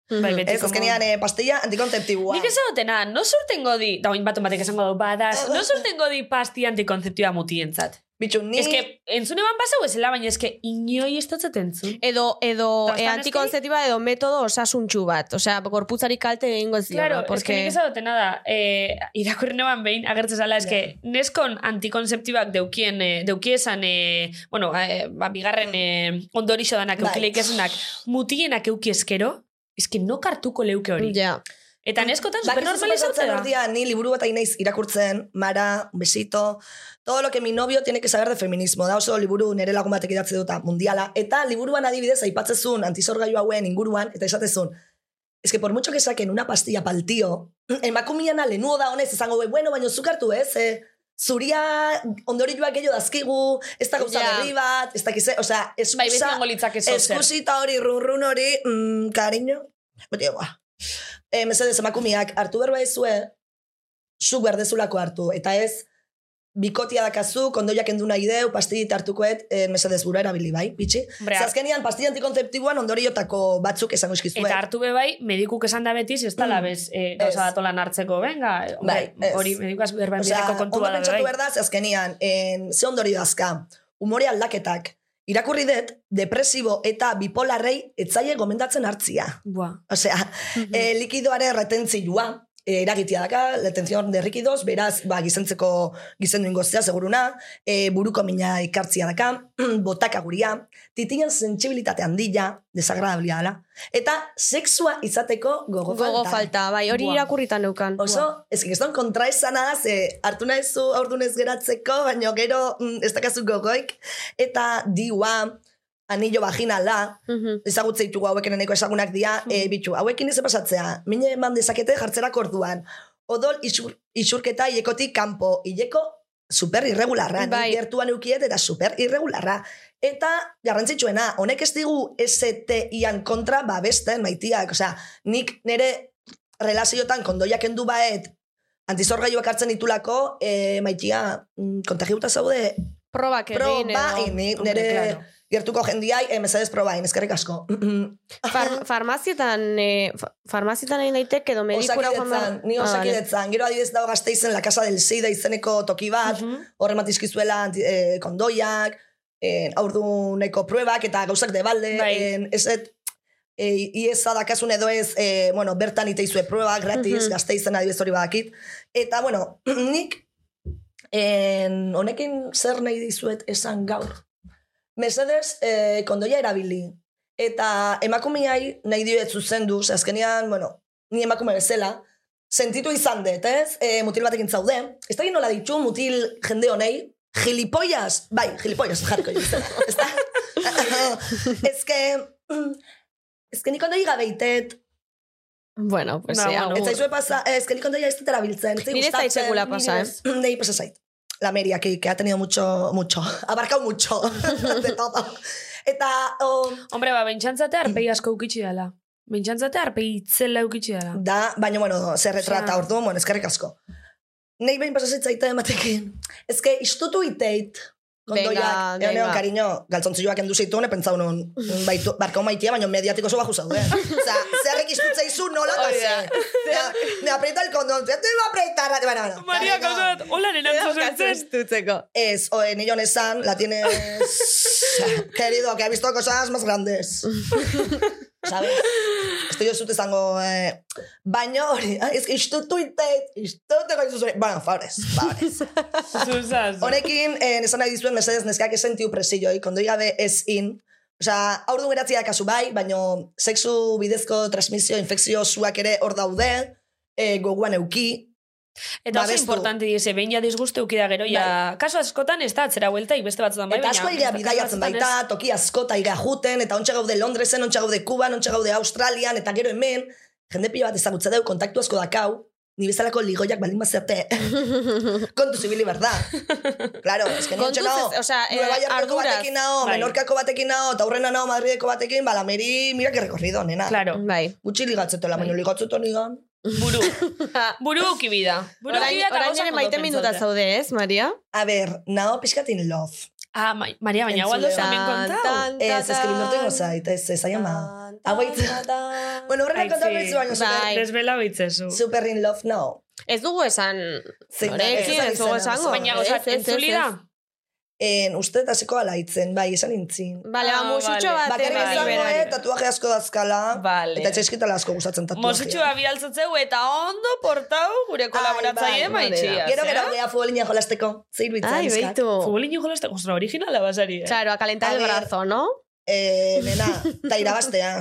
Bai,
Mhm.
beti
Ez,
como-
azkenean eh, pastilla antikonzeptiboa.
Nik esan dutena, no sortengo di, da oin baten batek esango dau, badaz, no sortengo di pasti antikonzeptioa mutientzat.
Bitxu, ni...
Ez que, entzune ban pasau ezela, baina ez que inoi ez dotzat entzun.
Edo, edo
Eta
e,
ez da
antikonzeptiba edo metodo osasuntxu bat. Osea, gorputzari kalte egingo ez diona.
Claro,
porque...
es que nik esan dutena da, eh, irakurri neban behin, agertzen zala, es que neskon antikonzeptibak deukien, eh, deukiesan, eh, bueno, eh, ba, bigarren eh, ondorixo danak,
Bai.
eukileik esanak, mutienak eukieskero, es que no kartuko leuke hori.
Ja.
Eta neskotan
Bakizu
supernormalizatzen
pasatzen
da.
ordia, ni liburu bat hain naiz irakurtzen, Mara, un besito, todo lo que mi novio tiene que saber de feminismo, da oso liburu nere lagun batek idatzi duta mundiala, eta liburuan adibidez aipatzezun antizorgailu hauen inguruan, eta esatezun, es que por mucho que saquen una pastilla pal tío, emakumiana lenuo da honez, esango, "Be, bueno, baino zukartu ez, eh, zuria ondorioak gehiago dazkigu, ez da gauza
Ja.
berri bat, ez dakize, osea,
Bai, beti
eskusa,
nango litzak ez ozer.
Eskusita hori, run-run hori, mm, Eh, cariño. Beti, buah. E, mesedez, emakumiak, hartu berba izue, zuk berdezulako hartu. Eta ez, bikotia dakazu, kondoiak endu nahi deu, pastillita hartukoet, eh, mesedez burua erabili, bai, pitxi.
Hombre,
Ze azkenian, pastilla antikontzeptiboan ondoriotako batzuk esango eskizue.
Eta hartu be bai, medikuk esan da betiz, ez da labez, eh,
Ez.
gauza batolan hartzeko, venga, hombre,
Bai, ez.
hori medikaz berba enbideko
ondo
kontua da,
pentsatu behar
bai.
da, ze azkenian, en, ze ondorio dazka, umore aldaketak, irakurri dut, depresibo eta bipolarrei etzaile gomendatzen hartzia.
Bua.
Osea, e, likidoare retentzioa e, eragitia daka, retenzion de rikidos, beraz, ba, gizentzeko gizendu ingoztea, seguruna, e, buruko mina ikartzia daka, botaka guria, titinan sentsibilitate handia, desagradablia dela, eta sexua izateko gogo
Gogo falta, bai, hori
Buah.
irakurritan neukan.
Oso, ez ez don kontra esana da, ze hartu nahi zu aurdunez geratzeko, baino gero mm, ez dakazu gogoik, eta diua, anillo vaginala,
Mhm.
ezagutze ditugu haueken eneko ezagunak dira, e, bitu, hauekin ez pasatzea, mine eman dezakete jartzerak orduan, odol isur, isurketa hilekotik kanpo, hileko super irregularra,
Bai.
bai. gertuan eukiet eta super irregularra. Eta garrantzitsuena, honek ez digu STI-an kontra babesten maitiak, osea, nik nire relaziotan kondoiak endu baet, antizorgaioak hartzen ditulako, e, maitia, mm, kontagiuta zaude,
Probak egin,
proba,
edo.
ini,
Hombre,
nire
claro.
gertuko jendiai, eh, mesedez probain, eskerrik asko.
Far, farmazietan, eh, fa- farmazietan egin daiteke, edo medikura joan
osakidetzan,
behar-
ni
Ah, vale.
osakidetzan. Gero adibidez dago gazteizen La Casa del Sida izeneko toki bat, horre matizkizuela anti- eh, kondoiak, eh, aurduneko pruebak eta gauzak de balde,
Bai.
eh, ez et, eh, iesa dakasun edo ez, eh, bueno, bertan iteizue pruebak, gratis,
Mhm.
gazteizen adibidez hori badakit. Eta, bueno, nik en, honekin zer nahi dizuet esan gaur. Mesedez, eh, kondoia erabili. Eta emakumeai nahi dioet zuzendu, ze azkenean, bueno, ni emakume bezala, sentitu izan dut, ez? E, mutil batekin zaude. Ez da egin nola ditu mutil jende honei, gilipollas, bai, gilipollas jarko ditu. Ez da? ez que, mm, ez que nikondo igabeitet,
Bueno, pues
Ba,
eh,
bueno.
agur.
ez zaizue pasa, ez que nikondo ez dut erabiltzen. ez zait
Nire ez
gustatzen.
zaizekula pasa, eh?
Nei pasa zait. La Meria, que, que ha tenido mucho, mucho, abarcado mucho, de todo. Eta, oh, o,
Hombre, ba, bentsantzate arpegi asko ukitxi dela. Bentsantzate arpegi itzela ukitxi dela.
da, baina, bueno, zer retrata
Osea.
ordu, bueno, eskerrik asko. Nei behin pasazitzaita ematekin. Ez que, istutu iteit,
Venga,
kondoiak, egon
venga.
egon, kariño, galtzontzioak endu zituen, epentza unun, baitu, barkau maitia, baina mediatiko zo baju zaude. Osa, eh. zerrek istutza izu nola eta ze. Ja, Me aprieta el condón, ya te iba a apretar, bueno, bueno.
Maria,
Bai,
Kariño.
gauzat, hola nena zuzentzen.
Estutzeko.
Es, o en ello Nesan, la tienes... Querido, que ha visto cosas más grandes. ¿Sabes? Esto yo zut esango... Eh, baino hori, ah, ez que istutu ite, istutu gaitu zure... Bueno, favores, favores.
Zuzaz.
Ba,
Honekin, eh, esan nahi dizuen mesedez neskak esentiu presioi, kondoi gabe ez in. Osea, aurdun geratzea kasu bai, baino sexu bidezko transmisio, infekzio zuak ere hor daude, eh, goguan euki,
Eta oso
babestu.
importante dize, behin ja disguste ukida gero,
Bai.
ja, kaso askotan ez da atzera hueltaik beste batzutan bai,
Eta asko
baina-
irea bidaiatzen
kasu
baita,
batzutan
toki asko eta irea juten, eta ontsa gaude Londresen, ontsa gaude Kuban, ontsa gaude Australian, eta gero hemen, jende pila bat ezagutza deu, kontaktu asko dakau, ni bezalako ligoiak balin bazerte. Kontu zibili berda. Claro, ez que
Kontuz
nintxe nao,
ez, osea, eh,
Nueva Yorkeko
arduraz.
batekin nao,
Bai.
Menorkako batekin nao, eta aurrena nao Madrideko batekin, bala meri, mira que recorrido, nena.
ez. Claro,
Bai.
Gutxi ligatzetola, baina ligatzeto nigan.
buru. Buru ukibida. Buru
Orain,
ukibida eta
orain
gauzak
ere
ondo
maite minuta
pentsatzea.
zaude, ez, Maria?
A ber, nao pixkatin love.
Ah, ma Maria, baina gualdo
Entzule.
zamen kontau.
Ez, ez que bilortu ingo zait, ez, ez, aia ma. Hau Bueno, horrela
Ai,
kontatu
sí.
dizu baino,
Bai.
super,
Desbela bitzezu.
super in love, no.
Ez dugu esan
Zein da,
norekin,
ez,
ez dugu
izena,
esango.
Baina,
Ez,
oza,
Ez, ez, ez,
entzuli da?
ez.
En, uste eta zeko ala hitzen, bai, esan intzin.
Bale, ba,
Ah,
musutxo
vale.
bat.
Bakarrik
bai,
izango,
bai,
eh,
bai.
tatuaje asko dazkala.
Vale.
Eta etxaiskitala asko gustatzen tatuajea.
Mosutxua bialtzatzeu eta ondo portau gure kolaboratzaile eh?
bai,
maitxia.
Gero gero gea futbolina jolasteko. Zeir bitza,
Ai,
neskak.
beitu.
Futbolin joko lasta, ostra, originala basari, eh?
Claro, a calentar
A
el
ver.
brazo, no?
Eh, nena, eta irabaztea.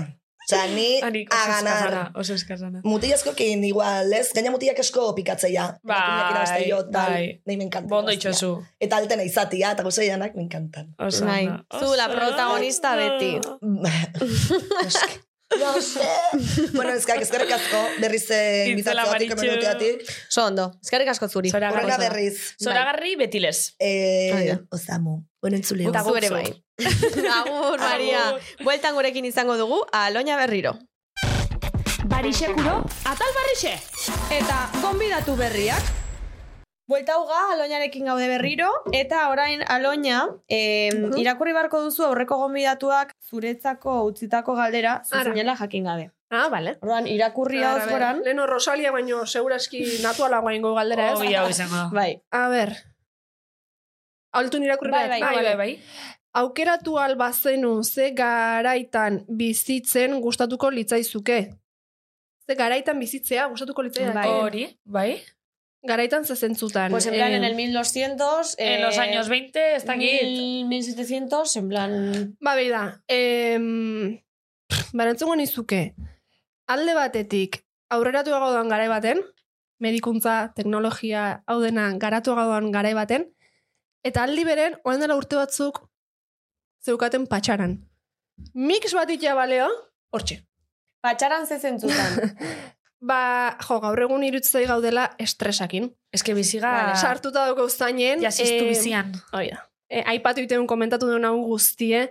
Osa, ni
Ah, nik
a
oso eskazana,
ganar.
oso eskazana.
Mutilaskokin igual, ez? Gaina mutilak asko pikatzeia.
Bai,
Emakumeak irabazte jo, tal.
bai.
Nei, me encanta.
Bondo
irabaztea.
itxosu.
Eta altena izatia, eta gozeianak, me encantan.
Oso
Bai,
ondo.
zu la
Oso
protagonista
ondo.
beti.
Noski. No sé. bueno, eskak, eskerrik asko, berriz eh,
Itzela
inbitazioatik,
Maritxu.
minuteatik.
So ondo, eskerrik asko zuri.
Zoragarri.
Horrega berriz.
Bai.
bai,
Zoragarri betilez.
Eh,
Oida.
ozamu. Bueno, entzuleo.
Eta
Zu ere
guk
bai. Agur, Maria. Bueltan gurekin izango dugu, aloina berriro.
Barixekuro, atal barrixe!
Eta, gonbidatu berriak, Buelta uga, aloinarekin gaude berriro, eta orain aloina, eh, irakurri barko duzu aurreko gonbidatuak zuretzako utzitako galdera,
Ara.
zuzinela jakin gabe.
Ah, bale.
Orduan, irakurri hau
A ber, a ber.
goran,
Leno Rosalia baino segurazki natuala guaingo galdera, ez?
Ogi hau izango da.
bai,
A ber. Altu irakurri
Bai,
behar.
bai,
Bai, bai, bai.
Aukeratu albazenu ze garaitan bizitzen gustatuko litzaizuke. Ze garaitan bizitzea gustatuko litzaizuke.
Bai.
Hori, bai.
Garaitan ze zentzutan.
pues en plan,
Eh,
en el 1200, eh,
En los años 20, ez dakit.
1000, 1700, en plan...
Ba, behi da. Em, pff, barantzungo nizuke. Alde batetik, aurreratu doan garai baten, medikuntza, teknologia, hau dena, garatu doan garai baten, eta aldi beren, orain dela urte batzuk, zeukaten patxaran. Mix bat itea baleo, hortxe.
Patxaran ze zentzutan.
Ba, jo, gaur egun irutzei gaudela estresakin.
Ez que biziga...
Vale, sartuta dago zainen.
Jasistu
em,
bizian.
Hori da. E, aipatu iteun komentatu duen hau guztie,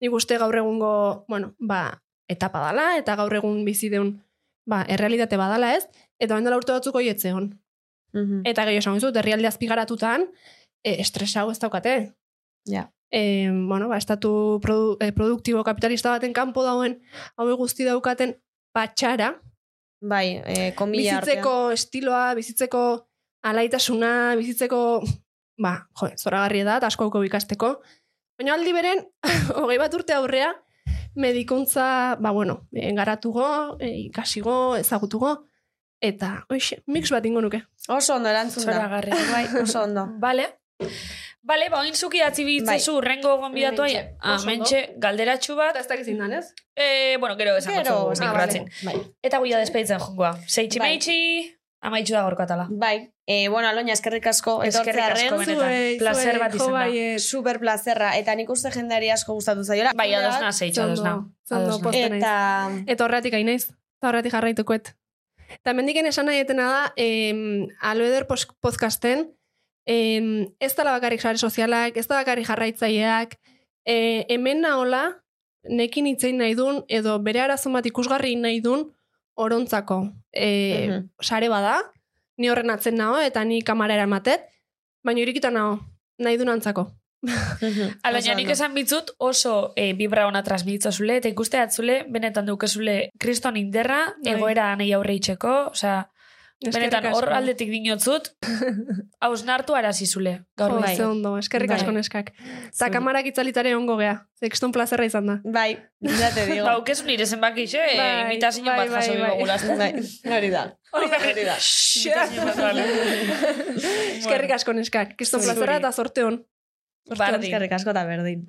nik uste gaur egungo, bueno, ba, etapa dala, eta gaur egun bizi deun, ba, errealitate badala ez, eta orain dela urte batzuk hoietze hon.
Mhm.
Eta gehiago esan dizut, herrialde azpigaratutan, e, estres hau ez daukate.
Ja.
E, bueno, ba, estatu produ, e, produktibo kapitalista baten kanpo dauen, hau guzti daukaten patxara,
bai, eh, komila
bizitzeko estiloa, bizitzeko alaitasuna, bizitzeko, ba, jo, zoragarria da, eta asko auko ikasteko. Baina aldi beren, hogei bat urte aurrea, medikuntza, ba, bueno, eh, garatugo, eh, ikasigo, ezagutugo, eta, oixe, mix bat ingo nuke.
Oso ondo erantzun da.
Zoragarri.
Bai, oso ondo.
Bale. Bale, ba, oin zuki atzi
Bai.
bitzezu urrengo gonbidatu ahi.
Hementxe. Oso ondo.
Amentxe, galderatxu Ah, bat.
Eta ez dakiz indan, ez?
Eh, bueno, gero esan
Gero,
gotzu
ah,
nik
Bai.
Eta guia despeditzen jongoa. Seitxi
Bai.
meitxi, amaitxu da gorko atala.
Bai, eh, bueno, Aloña, eskerrik asko
Eskerrik asko,
etortzearen.
benetan. Placer bat izan da.
eh, Super plazerra, eta nik uste jendeari asko gustatu zaiola.
Bai, ados na, seitxi, ados na. Ados na.
Eta...
Eta,
Eta horretik hainaiz, eta horretik jarraitukoet. Eta mendiken esan nahi etena da, em, aloeder pos- podcasten, em, ez da bakarrik sare sozialak, ez da bakarrik jarraitzaileak, e, hemen nahola, nekin itzein nahi dun, edo bere arazon bat ikusgarri nahi dun, orontzako.
Eh,
E,
Mhm.
Sare bada, ni horren atzen nao, eta ni kamara eramatet, baina irikita nao, nahi dun antzako.
Alaina, nik esan bitzut oso eh, bibra ona transmititzazule, eta ikuste atzule, benetan dukezule kriston inderra,
Bai.
egoera anei aurre itxeko, osea, benetan
Eskerrik
hor
asko.
aldetik dinotzut, hausnartu arazizule, gaur
Jo,
bai.
ze ondo, eskerrik
Bai.
asko neskak. Eta kamarak itzalitare ongo gea. Zekston plazerra izan da.
bai, ya te digo.
Ba, aukezu nire zenbaki, xe,
Bai,
imitazio
bai,
bat jaso
bai, bai.
dugu gurazten.
Bai, hori da.
Hori da, hori da.
Eskerrik asko neskak. Kriston
Zuri.
plazerra eta zorte hon.
Eskerrik asko eta berdin.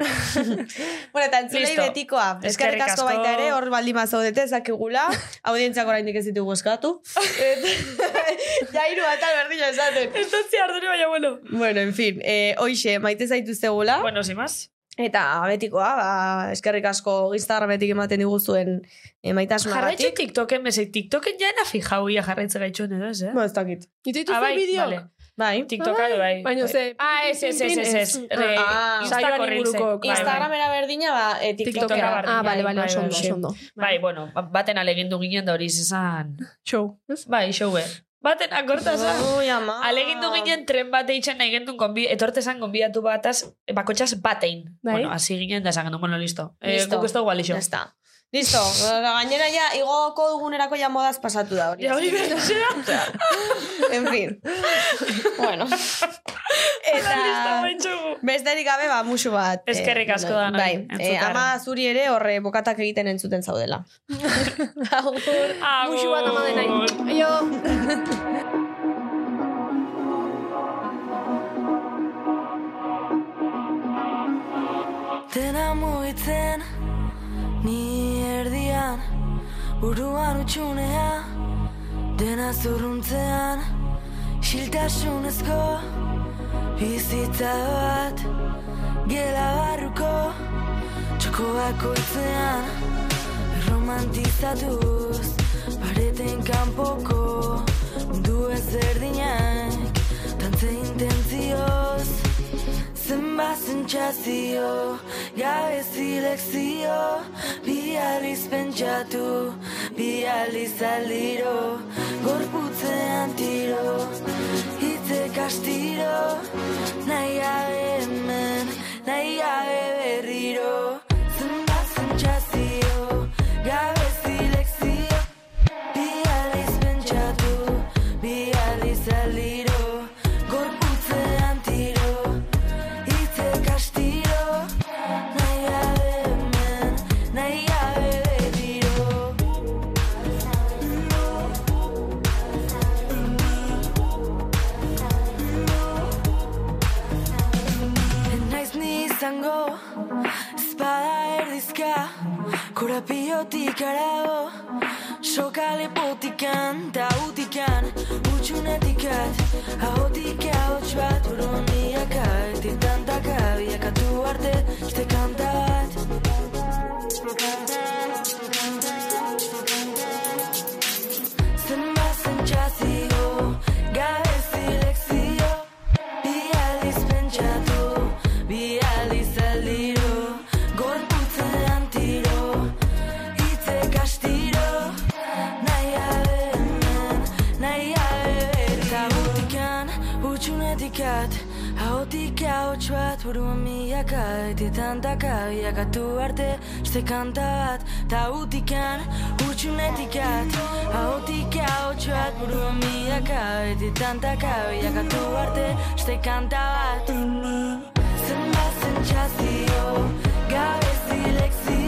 bueno, eta entzulei
Listo.
betikoa. Eskerrik
Eskerrik
asko
asko.
baita ere, hor baldin mazaudete, ez dakigula. Audientziak oraindik ez ditugu eskatu. Et- ja hiru eta berdina esaten.
Entontzia ardure baina, bueno.
Bueno, en fin, eh, oixe, maite
Ah?
zaituztegula.
Bueno, sin más.
Eta betikoa, ba, eskerrik asko Instagrametik ematen diguzuen eh,
Jarraitxu
maitasunagatik.
TikToken, mesei, TikToken jaena fijauia jarraitze gaitxuen edo, ez, eh?
Bai.
Ba, ez dakit.
Nitu
Ah, bai,
bideo.
vale.
Bai.
Tiktoka edo bai.
Baina ze...
Ah, ez, ez, ez, ez, ez. Re-
Ah.
Insta
Saioan
korriltzen.
inguruko,
Bai, bai.
Instagramera berdina, ba, eh,
TikToka
TikTokera.
berdina.
Ah, bale, bale,
Bai,
oso
bai,
ondo,
bai.
oso ondo.
Bai, bueno, baten alegindu ginen da hori izan.
Show. ez?
Bai, xoue. Baten akorta zan.
Ui, ama.
Ah.
Alegindu ginen tren bate itxen nahi gendun konbi, etorte zan konbidatu bataz, bakotxaz batein.
Bai.
Bueno, hasi ginen da esan gendun, bueno, listo. Eh,
Listo.
guk ez dugu alixo.
Ya está. Listo, ba, gainera ja, igoko dugunerako ja modaz pasatu da hori.
Ja, hori behar,
En fin. bueno. Eta... Besterik gabe, ba, musu bat. eh,
Eskerrik asko
bai,
danoi,
Bai, eh,
entzutearen.
ama zuri ere horre bokatak egiten entzuten zaudela. Agur.
Muxu bat ama denai. Aio.
Dena mugitzen Ni erdian Buruan utxunea Dena zurruntzean Xiltasunezko Bizitza bat Gela barruko Txoko bakoitzean Romantizatuz Pareten kanpoko Mundu ezberdinak Tantze intentzioz Zenba sentsazio Gabe zilekzio Bi aliz pentsatu Bi aliz aldiro Gorputzean tiro Hitzek astiro
Arpiotik arago Sokale potikan Ta utikan Utsunetik at Ahotik ahots bat Uroniaka Titantaka Biakatu arte Este kanta bat Zenbat zentsazio Gabe zilekzio Bi aldiz pentsatu Bi aldiz aldiro Gorputzean tiro Itzek astiro Naia beren Naia beren Eta butikan Utsunetik at Ahotik ahots bat Buruan milaka Etietan daka Biakatu arte Este kanta bat Ta utikan Utsunetik at Ahotik ahots bat Buruan milaka Etietan daka Biakatu arte Este kanta bat Zenbat zentsazio Gabe zilekzio